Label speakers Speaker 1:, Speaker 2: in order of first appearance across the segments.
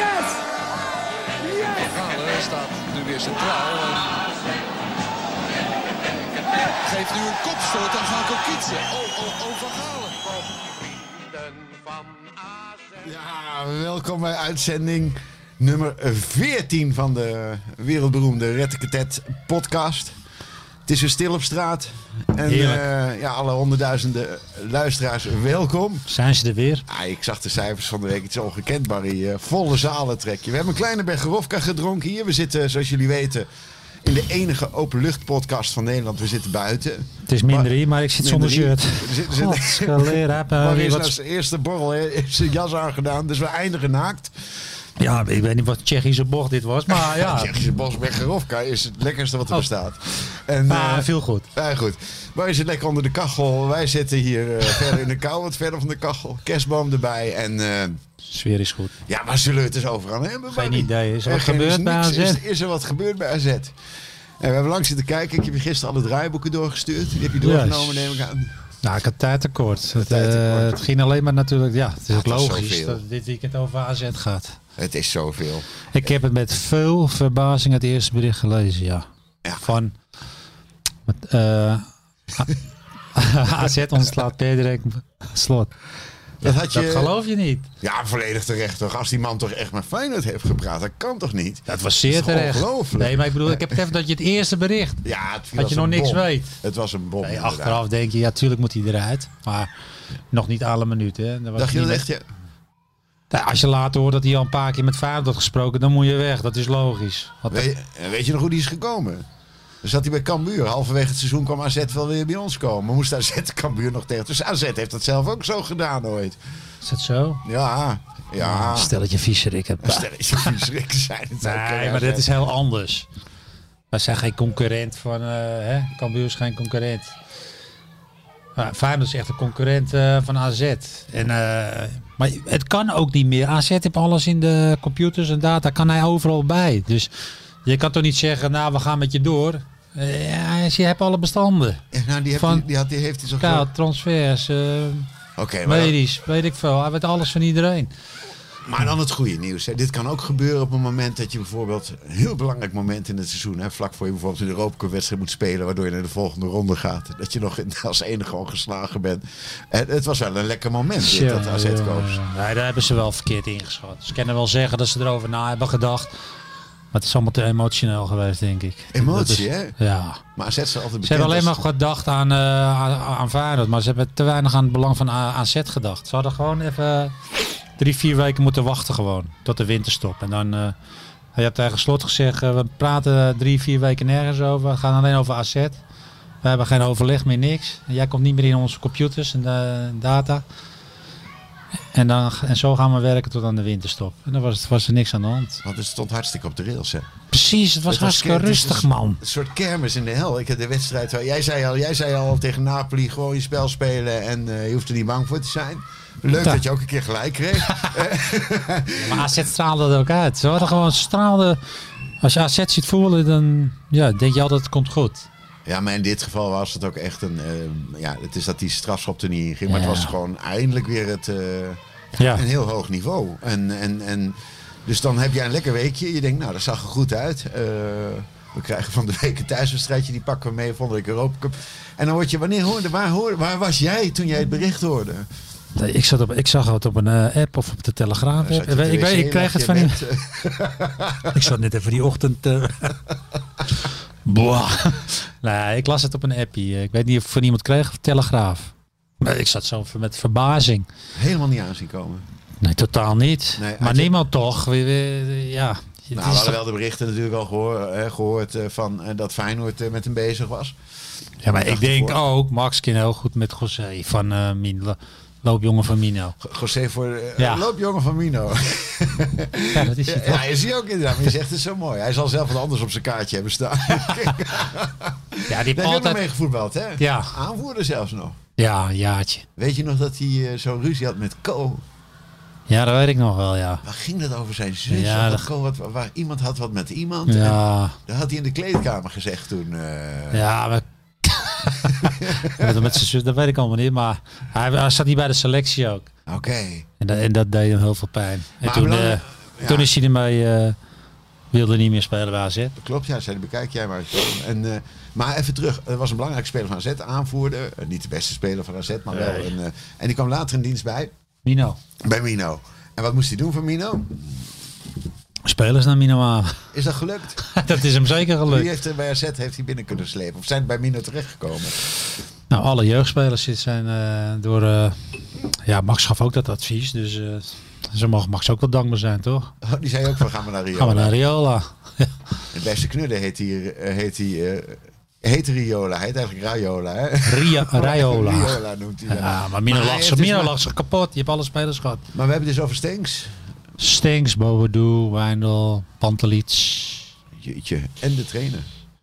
Speaker 1: Yes! Yes!
Speaker 2: Galen staat nu weer centraal. en Geeft nu een kopstoot aan Gato Kietsen. Oh, oh, oh, Van Galen.
Speaker 3: Ja, welkom bij uitzending nummer 14 van de wereldberoemde Rettekatet podcast. Het is weer stil op straat. En eh, ja, alle honderdduizenden luisteraars, welkom.
Speaker 4: Zijn ze er weer?
Speaker 3: Ah, ik zag de cijfers van de week, iets ongekend Barry. Eh, volle zalen trek je. We hebben een kleine Bergerovka gedronken hier. We zitten, zoals jullie weten, in de enige openluchtpodcast van Nederland. We zitten buiten.
Speaker 4: Het is minder
Speaker 3: Maar-
Speaker 4: hier, maar ik zit zonder
Speaker 3: Minder
Speaker 4: shirt.
Speaker 3: hier. Er zit- er zit-
Speaker 4: Godskaleer, heb eh,
Speaker 3: Barry
Speaker 4: weer
Speaker 3: is
Speaker 4: wat...
Speaker 3: nou zijn eerste borrel, hè, heeft zijn jas aangedaan. Dus we eindigen naakt.
Speaker 4: Ja, ik weet niet wat Tsjechische bocht dit was, maar ja.
Speaker 3: Tsjechische Bosberg-Gerovka is het lekkerste wat er
Speaker 4: Oh.
Speaker 3: bestaat. En,
Speaker 4: Maar
Speaker 3: eh,
Speaker 4: veel goed.
Speaker 3: ja, goed. Wij zitten lekker onder de kachel. Wij zitten hier eh, verder in de kou, wat verder van de kachel. Kerstboom erbij. En eh,
Speaker 4: Sfeer is goed.
Speaker 3: ja, waar zullen we het eens over gaan hebben?
Speaker 4: Geen
Speaker 3: Barry?
Speaker 4: idee. Is er
Speaker 3: Eh,
Speaker 4: wat
Speaker 3: geen-
Speaker 4: gebeurd bij
Speaker 3: niks.
Speaker 4: AZ?
Speaker 3: Is, is er wat gebeurd bij AZ? En we hebben lang zitten kijken. Ik heb je gisteren alle draaiboeken doorgestuurd. Die heb je doorgenomen,
Speaker 4: Ja, is-
Speaker 3: neem ik aan.
Speaker 4: Nou, ik had tijdtekort. Het, eh,
Speaker 3: tijdtekort.
Speaker 4: het ging alleen maar natuurlijk... Ja, het is ook
Speaker 3: het was
Speaker 4: logisch
Speaker 3: zoveel.
Speaker 4: dat het dit weekend over AZ gaat.
Speaker 3: Het is zoveel.
Speaker 4: Ik heb het met veel verbazing het eerste bericht gelezen, ja.
Speaker 3: Ja.
Speaker 4: Van... Met, eh, AZ ontslaat Pedrek Slot.
Speaker 3: Dat had je...
Speaker 4: Dat geloof je niet.
Speaker 3: Ja, volledig terecht toch. Als die man toch echt met Feyenoord heeft gepraat, dat kan toch niet?
Speaker 4: Dat was zeer
Speaker 3: Dat is
Speaker 4: terecht.
Speaker 3: Ongelooflijk.
Speaker 4: Nee, maar ik bedoel, ik heb het even dat je het eerste bericht.
Speaker 3: Ja, het
Speaker 4: Dat
Speaker 3: was
Speaker 4: je nog
Speaker 3: een
Speaker 4: niks
Speaker 3: bom.
Speaker 4: weet.
Speaker 3: Het was een bom.
Speaker 4: Nee,
Speaker 3: inderdaad.
Speaker 4: achteraf denk je, ja, tuurlijk moet hij eruit. Maar nog niet alle minuten. Hè. Dan was
Speaker 3: Dacht je
Speaker 4: hij
Speaker 3: dat
Speaker 4: niet
Speaker 3: echt? Ja.
Speaker 4: met- Nou, als je later hoort dat hij al een paar keer met Feyenoord had gesproken, dan moet je weg. Dat is logisch. Had-
Speaker 3: Weet, eh, weet je nog hoe die is gekomen? Dan zat hij bij Cambuur. Halverwege het seizoen kwam AZ wel weer bij ons komen. Maar moest AZ Cambuur nog tegen. Dus AZ heeft dat zelf ook zo gedaan ooit.
Speaker 4: Is dat zo?
Speaker 3: Ja, ja.
Speaker 4: Stel dat je viezerik hebt.
Speaker 3: Stel is een verschrikken zijn het ook,
Speaker 4: Nee,
Speaker 3: hè,
Speaker 4: maar
Speaker 3: AZ.
Speaker 4: dat is heel anders. Wij zijn geen concurrent van... eh hè? Cambuur is geen concurrent. Maar Feyenoord is echt een concurrent eh, van AZ. En, eh, maar het kan ook niet meer. AZ heeft alles in de computers en data. Kan hij overal bij. Dus je kan toch niet zeggen, nou we gaan met je door. Eh, ja, je hebt alle bestanden.
Speaker 3: Ja, nou, die, heeft,
Speaker 4: van-
Speaker 3: die, die had, die heeft hij zo
Speaker 4: Ja,
Speaker 3: gedaan.
Speaker 4: transfers, eh,
Speaker 3: Oké, maar, dan-
Speaker 4: medisch, weet ik veel. Hij weet alles van iedereen.
Speaker 3: maar dan het goede nieuws. Hè. Dit kan ook gebeuren op een moment dat je bijvoorbeeld... Een heel belangrijk moment in het seizoen... Hè, vlak voor je bijvoorbeeld een Europa Cup wedstrijd moet spelen... waardoor je naar de volgende ronde gaat. Dat je nog in- als enige gewoon geslagen bent. En het was wel een lekker moment, dit, dat AZ
Speaker 4: Ja,
Speaker 3: koos.
Speaker 4: ja, ja. daar hebben ze wel verkeerd ingeschat. Ze kunnen wel zeggen dat ze erover na hebben gedacht. Maar het is allemaal te emotioneel geweest, denk ik.
Speaker 3: Emotie,
Speaker 4: Dat
Speaker 3: hè?
Speaker 4: Ja.
Speaker 3: Maar zet ze altijd
Speaker 4: Ze hebben alleen maar
Speaker 3: als-
Speaker 4: gedacht aan, eh aan, aan Feyenoord, maar ze hebben te weinig aan het belang van A- AZ gedacht. Ze hadden gewoon even drie, vier weken moeten wachten gewoon, tot de winterstop. En dan, eh je hebt tegen Slot gezegd, eh, we praten drie, vier weken nergens over, we gaan alleen over AZ. We hebben geen overleg meer, niks. En jij komt niet meer in onze computers en eh, data. En, dan, en zo gaan we werken tot aan de winterstop. En dan was, was er niks aan de hand.
Speaker 3: Want het stond hartstikke op de rails, hè?
Speaker 4: Precies, het was dus-
Speaker 3: Het
Speaker 4: hartstikke
Speaker 3: het is
Speaker 4: rustig,
Speaker 3: een,
Speaker 4: man.
Speaker 3: Een soort kermis in de hel. Ik heb de wedstrijd... waar- Jij zei al, jij zei al tegen Napoli, gewoon je spel spelen... en eh, je hoeft er niet bang voor te zijn. Leuk
Speaker 4: Ja.
Speaker 3: dat je ook een keer gelijk kreeg.
Speaker 4: Maar AZ straalde dat ook uit. Ze hadden gewoon straalde. Als je AZ ziet voetballen, dan ja, denk je altijd het komt goed.
Speaker 3: Ja, maar in dit geval was het ook echt een... eh, ja, het is dat die strafschop er niet in ging. Maar het
Speaker 4: Ja.
Speaker 3: was gewoon eindelijk weer het... eh,
Speaker 4: Ja.
Speaker 3: Een heel hoog niveau. En, en, en, dus dan heb jij een lekker weekje. Je denkt, nou, dat zag er goed uit. Eh, we krijgen van de week een thuiswedstrijdje. Die pakken we mee van de Europa Cup. En dan word je, wanneer hoorde, waar, hoorde, waar was jij toen jij het bericht hoorde?
Speaker 4: Nee, Ik, zat op, ik zag het op een eh, app of op de Telegraaf.
Speaker 3: Zat
Speaker 4: app.
Speaker 3: je op de
Speaker 4: Ik, ik,
Speaker 3: wc,
Speaker 4: weet-
Speaker 3: lag
Speaker 4: ik krijg het
Speaker 3: je
Speaker 4: van
Speaker 3: in
Speaker 4: die-
Speaker 3: bed? Eh,
Speaker 4: Ik zat net even die ochtend. eh Boah. Nee, ik las het op een appie. Eh, Ik weet niet of ik het van iemand kreeg of Telegraaf. Maar ik zat zo ver- met verbazing.
Speaker 3: Helemaal niet aanzien komen.
Speaker 4: Nee, totaal niet.
Speaker 3: Nee,
Speaker 4: maar
Speaker 3: had je-
Speaker 4: niemand toch. We- we- Ja. Het
Speaker 3: Nou, we
Speaker 4: is
Speaker 3: hadden
Speaker 4: toch-
Speaker 3: wel de berichten natuurlijk al gehoor, eh, gehoord eh, van eh, dat Feyenoord eh, met hem bezig was.
Speaker 4: Ja, maar
Speaker 3: Dag
Speaker 4: ik denk
Speaker 3: ervoor.
Speaker 4: ook, Max kan heel goed met José van eh Mindelen. Loopjongen van Mino.
Speaker 3: José voor eh,
Speaker 4: Ja.
Speaker 3: loopjongen van Mino.
Speaker 4: Ja, dat is
Speaker 3: Ja,
Speaker 4: hij
Speaker 3: ja,
Speaker 4: toch?
Speaker 3: je ziet ook inderdaad. Maar je zegt het zo mooi. Hij zal zelf wat anders op zijn kaartje hebben staan.
Speaker 4: Ja, die
Speaker 3: Daar
Speaker 4: heeft
Speaker 3: hebben we mee
Speaker 4: altijd...
Speaker 3: gevoetbald, hè?
Speaker 4: Ja.
Speaker 3: Aanvoerder zelfs nog.
Speaker 4: Ja, een jaartje.
Speaker 3: Weet je nog dat hij eh zo'n ruzie had met Co?
Speaker 4: Ja, dat weet ik nog wel, ja.
Speaker 3: Waar ging dat over zijn zus?
Speaker 4: Ja,
Speaker 3: Of dat
Speaker 4: dat-
Speaker 3: Co wat, waar iemand had wat met iemand. En
Speaker 4: Ja,
Speaker 3: dat had hij in de kleedkamer gezegd toen. eh,
Speaker 4: ja maar... met, met zijn zus, dat weet ik allemaal niet, maar hij, hij zat niet bij de selectie ook.
Speaker 3: Oké.
Speaker 4: En dat, en dat deed hem heel veel pijn. En
Speaker 3: Maar
Speaker 4: toen,
Speaker 3: belangrijk-
Speaker 4: eh,
Speaker 3: ja.
Speaker 4: toen is hij ermee, eh, wilde niet meer spelen bij AZ.
Speaker 3: Klopt, ja, zei hij, bekijk jij maar. En, eh, maar even terug, er was een belangrijke speler van AZ, aanvoerder. Eh, niet de beste speler van AZ, maar wel.
Speaker 4: Nee.
Speaker 3: Een, eh, en die kwam later in dienst bij,
Speaker 4: Mino.
Speaker 3: bij Mino. En wat moest hij doen voor Mino?
Speaker 4: Spelers naar Mino aan.
Speaker 3: Is dat gelukt?
Speaker 4: dat is hem zeker
Speaker 3: Wie
Speaker 4: gelukt.
Speaker 3: heeft er bij AZ heeft hij binnen kunnen slepen? Of zijn er bij Mino terechtgekomen?
Speaker 4: Nou, alle jeugdspelers dit zijn eh, door... eh, ja, Max gaf ook dat advies, dus eh, ze mogen Max ook wel dankbaar zijn, toch?
Speaker 3: Oh, die zei ook van, gaan we naar Rio.
Speaker 4: Gaan we naar Riola.
Speaker 3: De beste knudde heet hier, eh, heet hij... eh, heet Riola, heet eigenlijk Raiola. Hè?
Speaker 4: Ria, Raiola.
Speaker 3: Raiola noemt hij dat.
Speaker 4: Ja, maar Mino
Speaker 3: Maar hij
Speaker 4: lag zich-
Speaker 3: heeft dus
Speaker 4: Mino
Speaker 3: maar-
Speaker 4: lag zich kapot. Je hebt alle spelers gehad.
Speaker 3: Maar we hebben het dus over Stenks.
Speaker 4: Stinks, Bobadou, Wijndal, Pantelits
Speaker 3: Jeetje, en de trainer.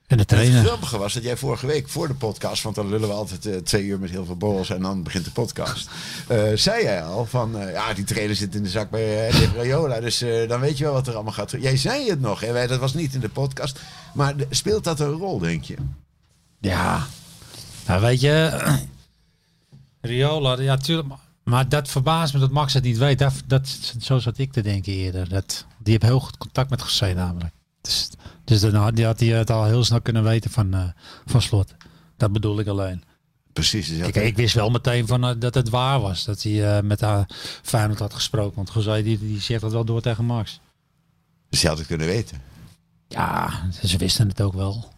Speaker 4: en de
Speaker 3: Het
Speaker 4: trainer.
Speaker 3: grappige was dat jij vorige week voor de podcast, want dan lullen we altijd eh, twee uur met heel veel borrels en dan begint de podcast. eh, zei jij al van, eh, ja, die trailer zit in de zak bij eh, Dick Raiola, dus eh, dan weet je wel wat er allemaal gaat. Jij zei het nog, hè? Wij, dat was niet in de podcast, maar de- speelt dat een rol, denk je?
Speaker 4: Ja. Nou, weet je, Riola, ja, tuurlijk. maar- Maar dat verbaast me dat Max het niet weet. Dat, dat, zo zat ik te denken eerder. Dat, die heeft heel goed contact met José namelijk. Dus, dus dan had, die had hij het al heel snel kunnen weten van, eh, van slot. Dat bedoel ik alleen.
Speaker 3: Precies. Dus
Speaker 4: Ik, ik wist wel meteen van, eh, dat het waar was. Dat hij eh, met haar Feyenoord had gesproken. Want José die, die zegt dat wel door tegen Max.
Speaker 3: dus je had het kunnen weten.
Speaker 4: Ja, ze wisten het ook wel.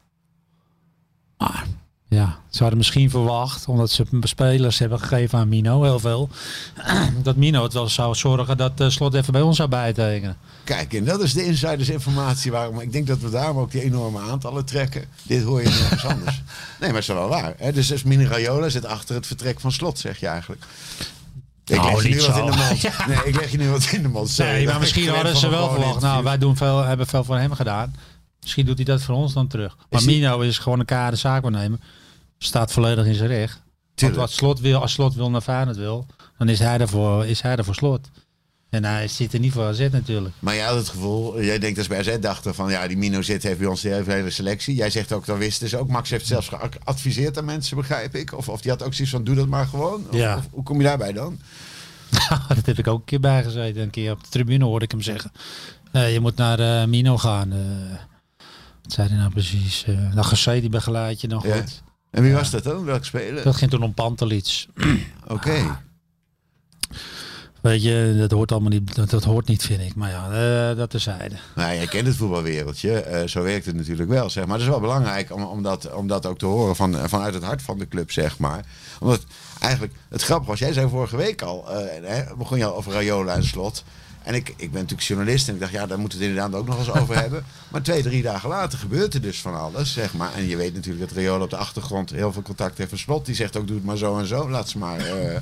Speaker 4: Maar ja, ze hadden misschien verwacht, omdat ze spelers hebben gegeven aan Mino, heel veel, dat Mino het wel zou zorgen dat eh, Slot even bij ons zou bijtekenen.
Speaker 3: Kijk, en dat is de insidersinformatie waarom ik denk dat we daarom ook die enorme aantallen trekken. Dit hoor je nergens anders. Nee, maar het is wel waar. Hè? Dus, dus Mini Raiola zit achter het vertrek van slot, zeg je eigenlijk. Ik
Speaker 4: Nou,
Speaker 3: leg je nu
Speaker 4: niet
Speaker 3: wat
Speaker 4: zo.
Speaker 3: in de mond.
Speaker 4: Ja.
Speaker 3: Nee, ik leg je nu wat in de mond. Sorry,
Speaker 4: Nee,
Speaker 3: dat
Speaker 4: maar
Speaker 3: ik
Speaker 4: "Nou, misschien
Speaker 3: gewend
Speaker 4: hadden ze
Speaker 3: van een
Speaker 4: wel
Speaker 3: gewoon
Speaker 4: verwacht, nou
Speaker 3: interview.
Speaker 4: wij doen veel, hebben veel voor hem gedaan. Misschien doet hij dat voor ons dan terug. Maar
Speaker 3: Is hij-
Speaker 4: Mino is gewoon een kade zaakwaarnemer. Staat volledig in zijn recht. Want
Speaker 3: Tuurlijk.
Speaker 4: wat slot wil, als slot wil naar Feyenoord wil, dan is hij ervoor, is hij ervoor slot. En hij zit er niet voor AZ natuurlijk.
Speaker 3: Maar jij had het gevoel, jij denkt als bij AZ dachten van ja, die Mino zit heeft bij ons de hele selectie. Jij zegt ook, dat wisten ze ook. Max heeft zelfs geadviseerd aan mensen, begrijp ik. Of, of die had ook zoiets van, doe dat maar gewoon. Of-
Speaker 4: Ja.
Speaker 3: of, hoe kom je daarbij dan?
Speaker 4: dat heb ik ook een keer bijgezeten. Een keer op de tribune hoorde ik hem zeggen. Nee, je moet naar eh, Mino gaan. eh. wat zei hij nou precies? Eh nou, José, die begeleid je nog
Speaker 3: Ja.
Speaker 4: goed.
Speaker 3: En wie was dat dan? Welk speler?
Speaker 4: Dat ging toen om Pantelits.
Speaker 3: Oké.
Speaker 4: Weet je, dat hoort allemaal niet. Dat, dat hoort niet, vind ik. Maar ja, eh, dat terzijde.
Speaker 3: Nou, jij kent het voetbalwereldje. Eh, zo werkt het natuurlijk wel, zeg maar. Het is wel belangrijk om, om, dat, om dat ook te horen van, eh, vanuit het hart van de club, zeg maar. Omdat eigenlijk, het grappige was, jij zei vorige week al, eh, hè, begon je al over Rayola en Slot. En ik, ik ben natuurlijk journalist en ik dacht, ja, daar moeten we het inderdaad ook nog eens over hebben. Maar twee, drie dagen later gebeurt er dus van alles, zeg maar. En je weet natuurlijk dat Rayola op de achtergrond heel veel contact heeft met Slot. Die zegt ook, doe het maar zo en zo, laat ze maar... eh.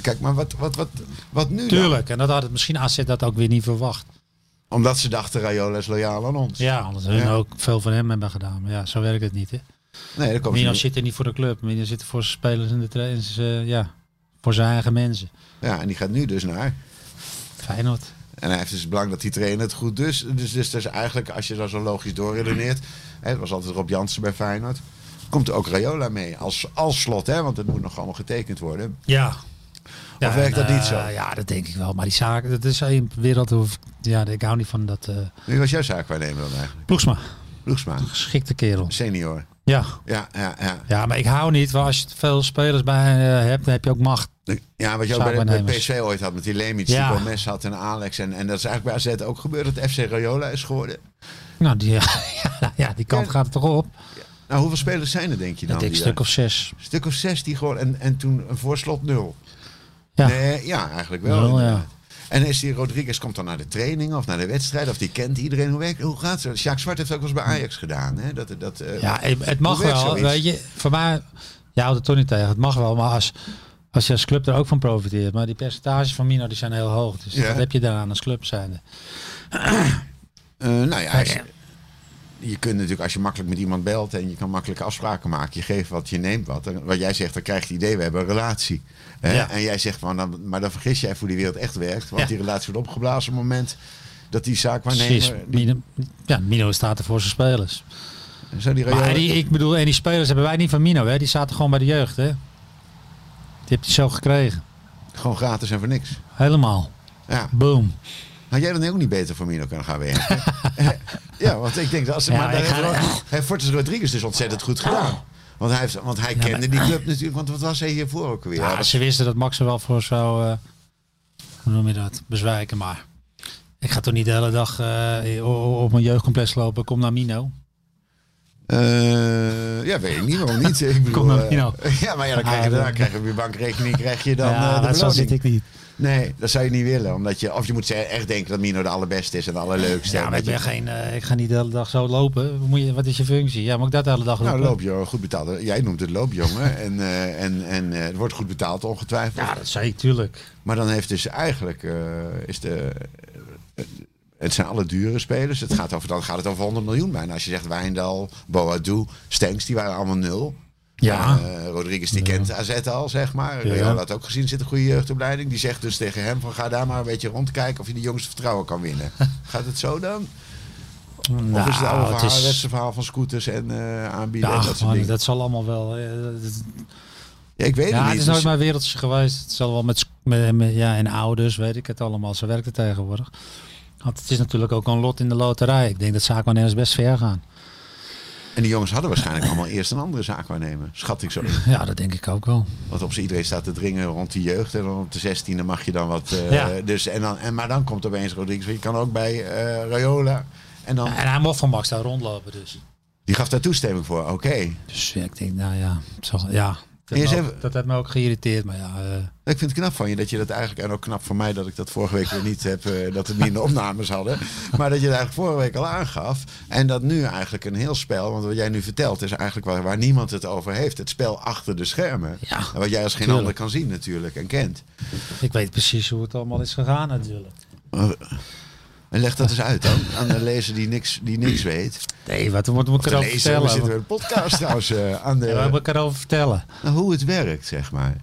Speaker 3: Kijk, maar wat, wat, wat, wat nu dan?
Speaker 4: Tuurlijk. En dat had het misschien AZ dat ook weer niet verwacht.
Speaker 3: Omdat ze dachten, Rayola is loyaal aan ons.
Speaker 4: Ja, omdat hun
Speaker 3: Ja.
Speaker 4: ook veel van hem hebben gedaan. Maar ja, zo werkt het niet. Hè?
Speaker 3: Nee, dat komt
Speaker 4: Mino zit er niet voor de club. Mino zit er voor zijn spelers en de trainers. eh, ja, voor zijn eigen mensen.
Speaker 3: Ja, en die gaat nu dus naar.
Speaker 4: Feyenoord.
Speaker 3: En hij heeft dus het belang dat die trainer het goed dus. Dus, dus, dus eigenlijk, als je daar zo logisch doorredeneert. Hè, het was altijd Rob Jansen bij Feyenoord. Komt er ook Rayola mee als, als slot, hè? Want het moet nog allemaal getekend worden.
Speaker 4: Ja.
Speaker 3: Of werkt dat
Speaker 4: en,
Speaker 3: niet zo?
Speaker 4: eh, ja, dat denk ik wel. Maar die zaken, dat is een wereld. of- Ja, ik hou niet van dat. eh
Speaker 3: Wie was jouw zaakwaarnemer dan eigenlijk?
Speaker 4: Ploegsma,
Speaker 3: Loegsma,
Speaker 4: geschikte kerel.
Speaker 3: senior.
Speaker 4: Ja.
Speaker 3: Ja, ja, ja.
Speaker 4: ja, maar ik hou niet. Want als je te veel spelers bij eh, hebt, dan heb je ook macht.
Speaker 3: Ja, wat je ook bij, bij
Speaker 4: Zaakwaarnemers.
Speaker 3: PSV ooit had met die Lemits,
Speaker 4: Ja.
Speaker 3: die Gomez had en Alex. En, en dat is eigenlijk bij AZ ook gebeurd, dat FC Rayola is geworden.
Speaker 4: Nou, die, ja, ja, die kant
Speaker 3: Ja.
Speaker 4: gaat er toch op.
Speaker 3: Nou, hoeveel spelers zijn er, denk je dan?
Speaker 4: Dat ik
Speaker 3: die,
Speaker 4: stuk
Speaker 3: eh,
Speaker 4: of zes.
Speaker 3: stuk of zes die gewoon, en, en toen een voorslot nul.
Speaker 4: Ja.
Speaker 3: Nee, ja, eigenlijk wel.
Speaker 4: Wel, ja.
Speaker 3: inderdaad. En is die Rodriguez komt dan naar de training of naar de wedstrijd of die kent iedereen hoe werkt hoe gaat ze? Jacques Zwart heeft ook wel eens bij Ajax gedaan, hè? Dat, dat, eh,
Speaker 4: Hm. Ja, het mag
Speaker 3: hoe werkt
Speaker 4: wel.
Speaker 3: zoiets?
Speaker 4: Weet je, voor mij, je houdt het toch niet tegen. Het mag wel, maar als, Als je als club er ook van profiteert. Maar die percentages van Mino die zijn heel hoog. Dus
Speaker 3: Ja.
Speaker 4: dat heb je daaraan als club zijnde.
Speaker 3: Eh, nou ja, je, je kunt natuurlijk als je makkelijk met iemand belt en je kan makkelijke afspraken maken. Je geeft wat, je neemt wat. En wat jij zegt, dan krijg je het idee, we hebben een relatie. Hè?
Speaker 4: Ja.
Speaker 3: En jij zegt van, dan, maar dan vergis jij voor die wereld echt werkt. Want
Speaker 4: Ja.
Speaker 3: die relatie wordt opgeblazen op het moment dat die zaak
Speaker 4: Precies.
Speaker 3: waarnemer... Die,
Speaker 4: Mino, ja, Mino staat er voor zijn spelers.
Speaker 3: zou die
Speaker 4: Maar
Speaker 3: reëel-
Speaker 4: die, ik bedoel, en die spelers hebben wij niet van Mino. Hè? Die zaten gewoon bij de jeugd. Hè? Die heb je zo gekregen.
Speaker 3: gewoon gratis en voor niks.
Speaker 4: Helemaal.
Speaker 3: Ja.
Speaker 4: Boom.
Speaker 3: Had jij dan ook niet beter voor Mino kunnen gaan werken? ja, want ik denk dat als...
Speaker 4: Ja,
Speaker 3: maar daar
Speaker 4: ik ga-
Speaker 3: heeft Ro- heeft Fortes Rodriguez dus ontzettend goed gedaan. Want hij, heeft, want hij kende die club natuurlijk. Want wat was hij hiervoor ook weer?
Speaker 4: Ja,
Speaker 3: Ja, dat-
Speaker 4: ze wisten dat Max er wel voor zou, eh, hoe noem je dat, bezwijken. Maar ik ga toch niet de hele dag eh, o- o- op een jeugdcomplex lopen. Kom naar Mino.
Speaker 3: Eh, ja, weet ik niet, waarom niet? Ik bedoel,
Speaker 4: Kom dan,
Speaker 3: eh,
Speaker 4: Pino.
Speaker 3: ja, maar ja, dan krijg je,
Speaker 4: Ah,
Speaker 3: daarna
Speaker 4: dan-
Speaker 3: krijg je op je bankrekening krijg je dan eh,
Speaker 4: ja,
Speaker 3: de
Speaker 4: dat zo
Speaker 3: beloning.
Speaker 4: zit ik niet.
Speaker 3: Nee, dat zou je niet willen. Omdat je, of je moet ze- echt denken dat Mino de allerbeste is en de allerleukste.
Speaker 4: Ja,
Speaker 3: en
Speaker 4: maar ik,
Speaker 3: dat
Speaker 4: ben
Speaker 3: je-
Speaker 4: geen, eh, ik ga niet de hele dag zo lopen. Hoe Moet je, wat is je functie? Ja, moet ik dat de hele dag
Speaker 3: Nou,
Speaker 4: roepen?
Speaker 3: loopjongen, goed betaald. Jij noemt het loopjongen. en eh, en, en eh, het wordt goed betaald, ongetwijfeld.
Speaker 4: Ja, dat zei ik, tuurlijk.
Speaker 3: Maar dan heeft dus eigenlijk... eh, is de, eh, het zijn alle dure spelers. Het gaat over, dan gaat het over 100 miljoen bijna. Als je zegt Wijndal, Boadu, Stenks, die waren allemaal nul.
Speaker 4: Ja.
Speaker 3: Eh, Rodriguez die kent AZ al, zeg maar.
Speaker 4: Ja.
Speaker 3: Ja. had ook gezien, zit een goede jeugdopleiding. Die zegt dus tegen hem van ga daar maar een beetje rondkijken of je de jongste vertrouwen kan winnen. Gaat het zo dan? of
Speaker 4: Nou,
Speaker 3: is het oude
Speaker 4: het
Speaker 3: verhaal,
Speaker 4: is-
Speaker 3: het verhaal van scooters en eh aanbieden
Speaker 4: Ja,
Speaker 3: en dat soort
Speaker 4: man,
Speaker 3: dingen?
Speaker 4: dat zal allemaal wel. eh, dat-
Speaker 3: Ja, ik weet
Speaker 4: Ja,
Speaker 3: het
Speaker 4: het
Speaker 3: niet.
Speaker 4: is nooit
Speaker 3: Dus-
Speaker 4: mijn wereldje geweest. Het zal wel met, sc- met, met- ja, en ouders, weet ik het allemaal. Zo werkt het tegenwoordig. Want het is natuurlijk ook een lot in de loterij. Ik denk dat zaakwaarnemers best ver gaan.
Speaker 3: En die jongens hadden waarschijnlijk allemaal eerst een andere zaak waarnemen. Schat ik zo.
Speaker 4: Ja, dat denk ik ook wel.
Speaker 3: Want op z'n iedereen staat te dringen rond die jeugd. En dan op de 16e mag je dan wat. eh,
Speaker 4: Ja.
Speaker 3: dus, en dan, en, maar dan komt opeens Rodriguez. want Je kan ook bij eh Rayola. En dan,
Speaker 4: En hij mocht van Max daar rondlopen dus.
Speaker 3: die gaf daar toestemming voor. Oké.
Speaker 4: Dus ja, ik denk, nou ja, het zal- ja. Dat,
Speaker 3: Eerst
Speaker 4: heeft me ook-
Speaker 3: even-
Speaker 4: dat heeft me ook geïrriteerd. Maar ja, eh,
Speaker 3: Ik vind het knap van je dat je dat eigenlijk, en ook knap voor mij dat ik dat vorige week weer niet heb, eh, dat we het niet in de opnames hadden, maar dat je het eigenlijk vorige week al aangaf. En dat nu eigenlijk een heel spel, want wat jij nu vertelt is eigenlijk waar, waar niemand het over heeft. Het spel achter de schermen.
Speaker 4: Ja,
Speaker 3: en wat jij als geen
Speaker 4: tuurlijk.
Speaker 3: ander kan zien natuurlijk en kent.
Speaker 4: ik weet precies hoe het allemaal is gegaan natuurlijk.
Speaker 3: En leg dat eens uit dan, aan de lezer die niks, die niks weet.
Speaker 4: Nee, wat moet moet
Speaker 3: De
Speaker 4: ik erover
Speaker 3: lezer, we
Speaker 4: vertellen?
Speaker 3: zitten
Speaker 4: Wat
Speaker 3: in een podcast trouwens eh, aan de...
Speaker 4: ja, wat moet ik erover vertellen?
Speaker 3: Nou, hoe het werkt, zeg maar.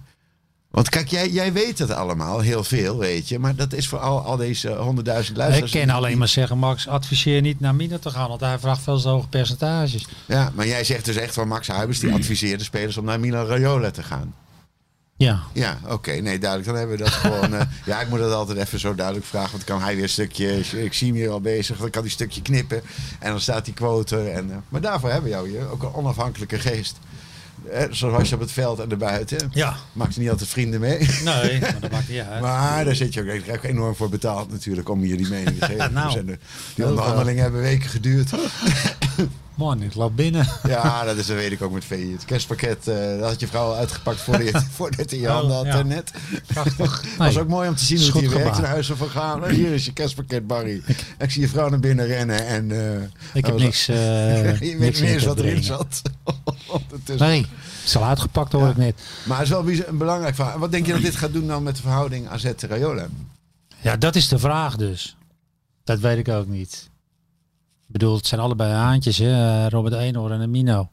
Speaker 3: Want kijk, jij, jij weet dat allemaal, heel veel, weet je. Maar dat is voor al, al deze honderdduizend
Speaker 4: Ik
Speaker 3: luisteraars.
Speaker 4: kan alleen maar zeggen, Max, adviseer niet naar Mina te gaan. Want hij vraagt veel te hoge percentages.
Speaker 3: Ja, maar jij zegt dus echt van Max Huibers, die adviseerde spelers om naar Milan Raiola te gaan.
Speaker 4: Ja,
Speaker 3: Ja, oké, nee, duidelijk. Dan hebben we dat gewoon. eh, ja, ik moet dat altijd even zo duidelijk vragen. Want dan kan hij weer een stukje. Ik zie hem hier al bezig. Dan kan hij een stukje knippen. En dan staat die quote. er En, eh, maar daarvoor hebben we jou hier. Ook een onafhankelijke geest. Eh, zoals je op het veld en erbuiten.
Speaker 4: Ja.
Speaker 3: Maakt niet altijd vrienden mee.
Speaker 4: nee, maar dat maakt niet uit.
Speaker 3: Maar daar zit je ook, daar krijg ik enorm voor betaald natuurlijk om hier die mening te geven.
Speaker 4: Nou,
Speaker 3: We zijn er- die
Speaker 4: heel
Speaker 3: onderhandelingen hebben weken geduurd.
Speaker 4: Man, ik loop binnen.
Speaker 3: Ja, dat, is, dat weet ik ook met VI. Het kerstpakket, eh, dat had je vrouw al uitgepakt voordat je, voordat je je handen had
Speaker 4: ja.
Speaker 3: daarnet.
Speaker 4: Prachtig.
Speaker 3: was
Speaker 4: Nee.
Speaker 3: ook mooi om te zien
Speaker 4: Is
Speaker 3: hoe het
Speaker 4: goed
Speaker 3: hier werkt
Speaker 4: gebaar.
Speaker 3: in huizen van Galen. Hier is je kerstpakket, Barry. Ik zie je vrouw naar binnen rennen en... eh,
Speaker 4: Ik
Speaker 3: dat
Speaker 4: heb
Speaker 3: was-
Speaker 4: niks. eh
Speaker 3: je weet
Speaker 4: niks
Speaker 3: niet eens
Speaker 4: in
Speaker 3: wat
Speaker 4: te
Speaker 3: erin
Speaker 4: brengen.
Speaker 3: zat. Ondertussen.
Speaker 4: Nee, het is al uitgepakt hoor ik net.
Speaker 3: Maar het is wel bijz- een belangrijk verhaal. Wat denk je dat dit gaat doen dan met de verhouding AZ-Rayola?
Speaker 4: Ja, dat is de vraag dus. Dat weet ik ook niet. Ik bedoel, het zijn allebei haantjes, hè? Eh, Robert Eenhoorn en Mino.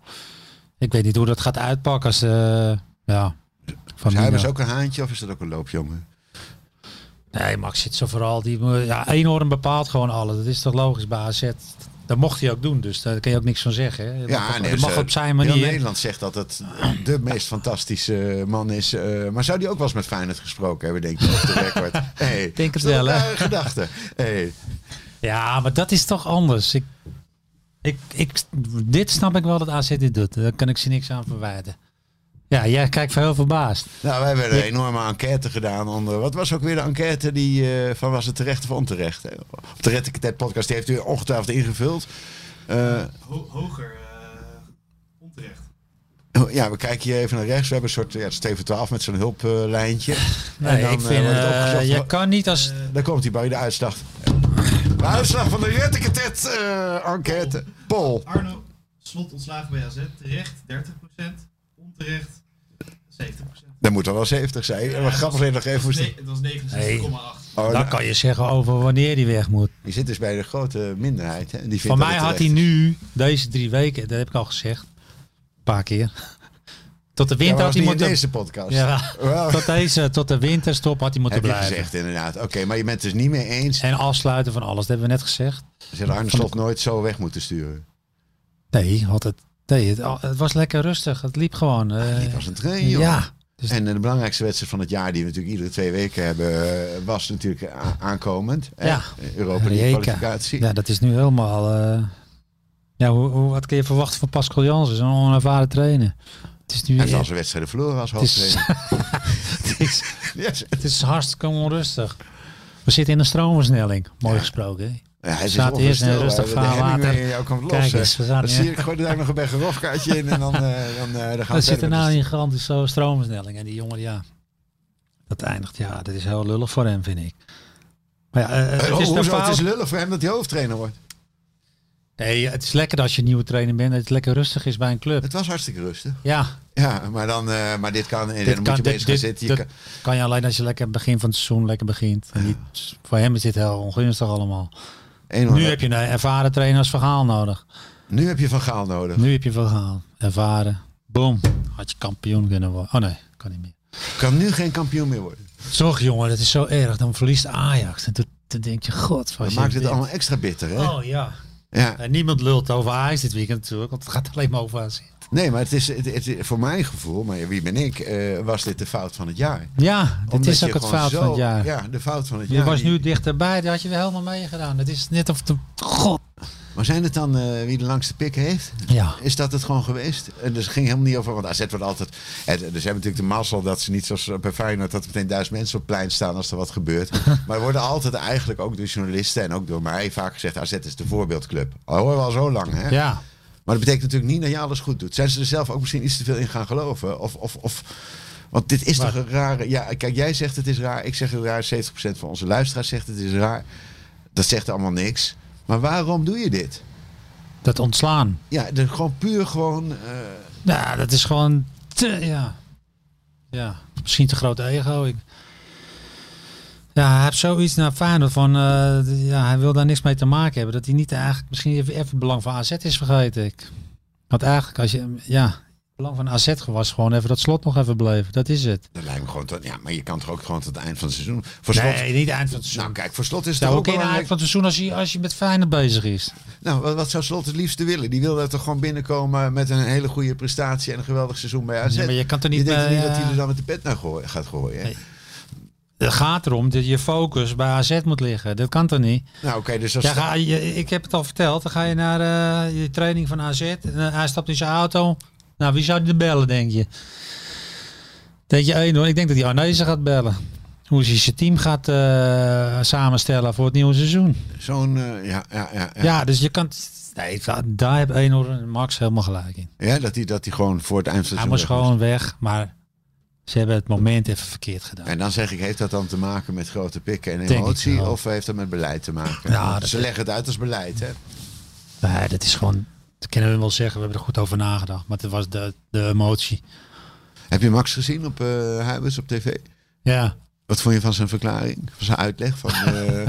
Speaker 4: Ik weet niet hoe dat gaat uitpakken als. eh, ja. Van
Speaker 3: Is Dus hij
Speaker 4: Mino.
Speaker 3: ook een haantje of is dat ook een loopjongen?
Speaker 4: Nee, Max zit zo vooral. Die, moet- ja, Eenhoorn bepaalt gewoon alles. Dat is toch logisch bij AZ? Dat mocht hij ook doen, dus daar kun je ook niks van zeggen. Hè? Dat mag,
Speaker 3: nee,
Speaker 4: dat mag
Speaker 3: ze-
Speaker 4: op zijn
Speaker 3: Heel
Speaker 4: manier.
Speaker 3: Nederland zegt dat het de meest fantastische man is. eh, maar zou die ook wel eens met Feyenoord gesproken hebben, denk ik, op de record? Hey,
Speaker 4: denk het
Speaker 3: is dat
Speaker 4: wel,
Speaker 3: een
Speaker 4: hè?
Speaker 3: rare gedachte. Hey,
Speaker 4: Ja, maar dat is toch anders. Ik, ik, ik, dit snap ik wel dat AZ dit doet. Daar kan ik ze niks aan verwijten. Ja, jij kijkt heel verbaasd.
Speaker 3: nou, wij hebben een enorme enquête gedaan onder... Wat was ook weer de enquête die, eh, van was het terecht of onterecht? hè? Op de Red podcast, die heeft u ongetwijfeld ingevuld. Eh,
Speaker 5: Ho- hoger eh, onterecht.
Speaker 3: ja, we kijken hier even naar rechts. We hebben een soort ja, het is Steven 12 met zo'n hulplijntje.
Speaker 4: Nee, ik vind, eh je kan niet als...
Speaker 3: Daar komt hij bij de uitslag. De uitslag van de Retteketet eh enquête. Pol.
Speaker 5: Arno, slot ontslagen bij AZ. Terecht 30%, onterecht 70%.
Speaker 3: Dan moet er wel 70 zijn. En wat grappig is nog even... hoe ze-
Speaker 5: Nee, het was 69,8.
Speaker 3: Oh,
Speaker 4: Dan
Speaker 3: nou,
Speaker 4: kan je zeggen over wanneer die weg moet.
Speaker 3: die zit dus bij de grote minderheid. Hè? en Die vindt
Speaker 4: Van
Speaker 3: dat
Speaker 4: mij
Speaker 3: het
Speaker 4: had hij
Speaker 3: terecht is.
Speaker 4: nu, deze drie weken, dat heb ik al gezegd, een paar keer. Tot de
Speaker 3: Ja, maar was
Speaker 4: winter had hij
Speaker 3: niet in de
Speaker 4: moeten...
Speaker 3: eerste podcast.
Speaker 4: Ja,
Speaker 3: Wel,
Speaker 4: tot, deze, tot de winterstop had hij moeten
Speaker 3: heb je
Speaker 4: blijven.
Speaker 3: gezegd inderdaad. Oké, maar je bent het dus niet meer eens.
Speaker 4: En afsluiten van alles, dat hebben we net gezegd.
Speaker 3: Ze hadden Arne Slot nooit zo weg moeten sturen.
Speaker 4: Nee, had het, nee het, het was lekker rustig. Het liep gewoon. eh,
Speaker 3: Die was een train, joh.
Speaker 4: ja, dus-
Speaker 3: En eh, de belangrijkste wedstrijd van het jaar, die we natuurlijk iedere twee weken hebben, eh, was natuurlijk a- aankomend. hè?
Speaker 4: Ja.
Speaker 3: Europa League
Speaker 4: Rijeka.
Speaker 3: kwalificatie.
Speaker 4: ja, dat is nu helemaal... eh, ja, hoe, hoe, wat kun je verwachten van Pascal Jansen? Zo'n onervaren trainer. Het is nu...
Speaker 3: Hij heeft al zijn wedstrijden verloren als
Speaker 4: het is,
Speaker 3: hoofdtrainer.
Speaker 4: het is,
Speaker 3: Yes.
Speaker 4: Het is hartstikke onrustig. We zitten in een stroomversnelling. Mooi
Speaker 3: Ja.
Speaker 4: gesproken. hè?
Speaker 3: Ja, hij is
Speaker 4: staat eerst in een
Speaker 3: onvoorstelbaar.
Speaker 4: rustig
Speaker 3: De
Speaker 4: vaarwater.
Speaker 3: Hemingway in jou komt
Speaker 4: Kijk
Speaker 3: los, hè.
Speaker 4: eens, we zaten
Speaker 3: Dan
Speaker 4: in-
Speaker 3: zie ik, gooi er daar nog een bergerofkaartje in en dan, eh, dan, eh, dan gaan
Speaker 4: We
Speaker 3: we
Speaker 4: zitten
Speaker 3: verder.
Speaker 4: nou
Speaker 3: met
Speaker 4: in een gigantische stroomversnelling. En die jongen, ja. Dat eindigt, ja. Dat is heel lullig voor hem, vind ik. Maar ja, eh,
Speaker 3: het.
Speaker 4: het is
Speaker 3: Ho-
Speaker 4: een
Speaker 3: Oh, hoezo? Het is
Speaker 4: fout.
Speaker 3: lullig voor hem dat hij hoofdtrainer wordt.
Speaker 4: Nee, het is lekker als je nieuwe trainer bent. Dat het lekker rustig is bij een club.
Speaker 3: Het was hartstikke rustig.
Speaker 4: Ja,
Speaker 3: Ja, maar, dan, eh, maar dit kan. En
Speaker 4: dit
Speaker 3: dan
Speaker 4: kan,
Speaker 3: moet je bezig
Speaker 4: dit- dit-
Speaker 3: gaan zitten. Je
Speaker 4: dat
Speaker 3: kan-
Speaker 4: kan je alleen als je lekker begin van het seizoen lekker begint. En niet, voor hem is dit heel ongunstig allemaal.
Speaker 3: Enorm.
Speaker 4: Nu heb je een ervaren trainer als verhaal nodig.
Speaker 3: nu heb je Van Gaal nodig.
Speaker 4: Nu heb je verhaal. Ervaren. Boom. Had je kampioen kunnen worden. Oh nee, kan niet meer.
Speaker 3: Kan nu geen kampioen meer worden.
Speaker 4: Zorg jongen, dat is zo erg. Dan verliest Ajax. En toen, toen denk je, god.
Speaker 3: Dat
Speaker 4: wat
Speaker 3: maakt
Speaker 4: je
Speaker 3: het
Speaker 4: dit-
Speaker 3: allemaal extra bitter, hè?
Speaker 4: Oh ja.
Speaker 3: Ja.
Speaker 4: En niemand lult over Ajax dit weekend natuurlijk. Want het gaat alleen maar over Ajax.
Speaker 3: Nee, maar het is, het, het is- voor mijn gevoel, maar wie ben ik, eh, was dit de fout van het jaar.
Speaker 4: Ja, dit
Speaker 3: Omdat
Speaker 4: is ook
Speaker 3: je
Speaker 4: het
Speaker 3: gewoon
Speaker 4: fout
Speaker 3: zo-
Speaker 4: van het jaar.
Speaker 3: Ja, de fout van het
Speaker 4: je
Speaker 3: jaar.
Speaker 4: was
Speaker 3: Die-
Speaker 4: nu dichterbij. Daar had je weer helemaal meegedaan. Het is net of de... God.
Speaker 3: Maar zijn het dan eh, wie de langste pik heeft?
Speaker 4: Ja.
Speaker 3: Is dat het gewoon geweest? En dus het ging helemaal niet over, want AZ wordt altijd... En, dus hebben natuurlijk de mazzel dat ze niet zoals bij Feyenoord... dat er meteen duizend mensen op het plein staan als er wat gebeurt. maar er worden altijd eigenlijk ook door journalisten en ook door mij vaak gezegd... AZ is de voorbeeldclub. Al horen we al zo lang, hè?
Speaker 4: Ja.
Speaker 3: Maar dat betekent natuurlijk niet dat je alles goed doet. Zijn ze er zelf ook misschien iets te veel in gaan geloven? Of, of, of, want dit is
Speaker 4: Maar-
Speaker 3: toch een rare... Ja, kijk, jij zegt het is raar. Ik zeg het raar. 70% van onze luisteraars zegt het is raar. Dat zegt allemaal niks. Maar waarom doe je dit?
Speaker 4: Dat ontslaan.
Speaker 3: Ja, dat gewoon puur gewoon... eh,
Speaker 4: Nou, dat is gewoon te, ja. Ja, misschien te groot ego. Ik... Ja, hij heeft zoiets naar Feyenoord van, eh, d- ja, hij wil daar niks mee te maken hebben. Dat hij niet eigenlijk misschien even, even het belang van AZ is vergeten. Ik. Want eigenlijk, als je, ja, het belang van AZ was gewoon even dat slot nog even bleven. Dat is het.
Speaker 3: dat lijkt me gewoon... tot- ja, maar je kan toch ook gewoon tot het eind van het seizoen... Voor slot,
Speaker 4: Nee, niet eind van het seizoen.
Speaker 3: Nou kijk, voor slot is het
Speaker 4: Nou,
Speaker 3: toch
Speaker 4: ook
Speaker 3: ook
Speaker 4: in het
Speaker 3: belangrijk...
Speaker 4: eind van het seizoen als je, als je met Feyenoord bezig is.
Speaker 3: Nou, wat, wat zou slot het liefste willen? Die wil er toch gewoon binnenkomen met een hele goede prestatie... en een geweldig seizoen bij AZ.
Speaker 4: Ja, maar je kan toch niet...
Speaker 3: je denkt
Speaker 4: eh,
Speaker 3: niet dat
Speaker 4: ja.
Speaker 3: hij er dan met de pet naar gooi- gaat gooien. hè?
Speaker 4: Nee. Het gaat erom dat je focus bij AZ moet liggen. Dat kan toch niet?
Speaker 3: Nou, oké, dus als...
Speaker 4: Ja, ga je, ik heb het al verteld. Dan ga je naar eh, je training van AZ. En, eh, hij stapt in zijn auto. Nou, wie zou die bellen, denk je? Denk je één hoor. Ik denk dat hij Arnezen gaat bellen. Hoe hij zijn team gaat eh, samenstellen voor het nieuwe seizoen.
Speaker 3: Zo'n, eh, ja, ja, ja, ja.
Speaker 4: Ja, dus je kan... Nee, da- daar heb Eenhoorn en Max helemaal gelijk in.
Speaker 3: Ja, dat hij dat die gewoon voor het eind van het
Speaker 4: Hij
Speaker 3: seizoen weg
Speaker 4: moest
Speaker 3: was.
Speaker 4: gewoon weg, maar ze hebben het moment even verkeerd gedaan.
Speaker 3: En dan zeg ik, heeft dat dan te maken met grote pikken en
Speaker 4: Denk ik
Speaker 3: emotie?
Speaker 4: wel.
Speaker 3: Of heeft dat met beleid te maken?
Speaker 4: Ja, dat-
Speaker 3: Ze leggen het uit als beleid, hè?
Speaker 4: Nee, dat is gewoon... Dat kunnen we wel zeggen, we hebben er goed over nagedacht. Maar het was de, de emotie.
Speaker 3: Heb je Max gezien op eh Huibers op tv?
Speaker 4: Ja,
Speaker 3: Wat vond je van zijn verklaring? Van zijn uitleg? Van, eh,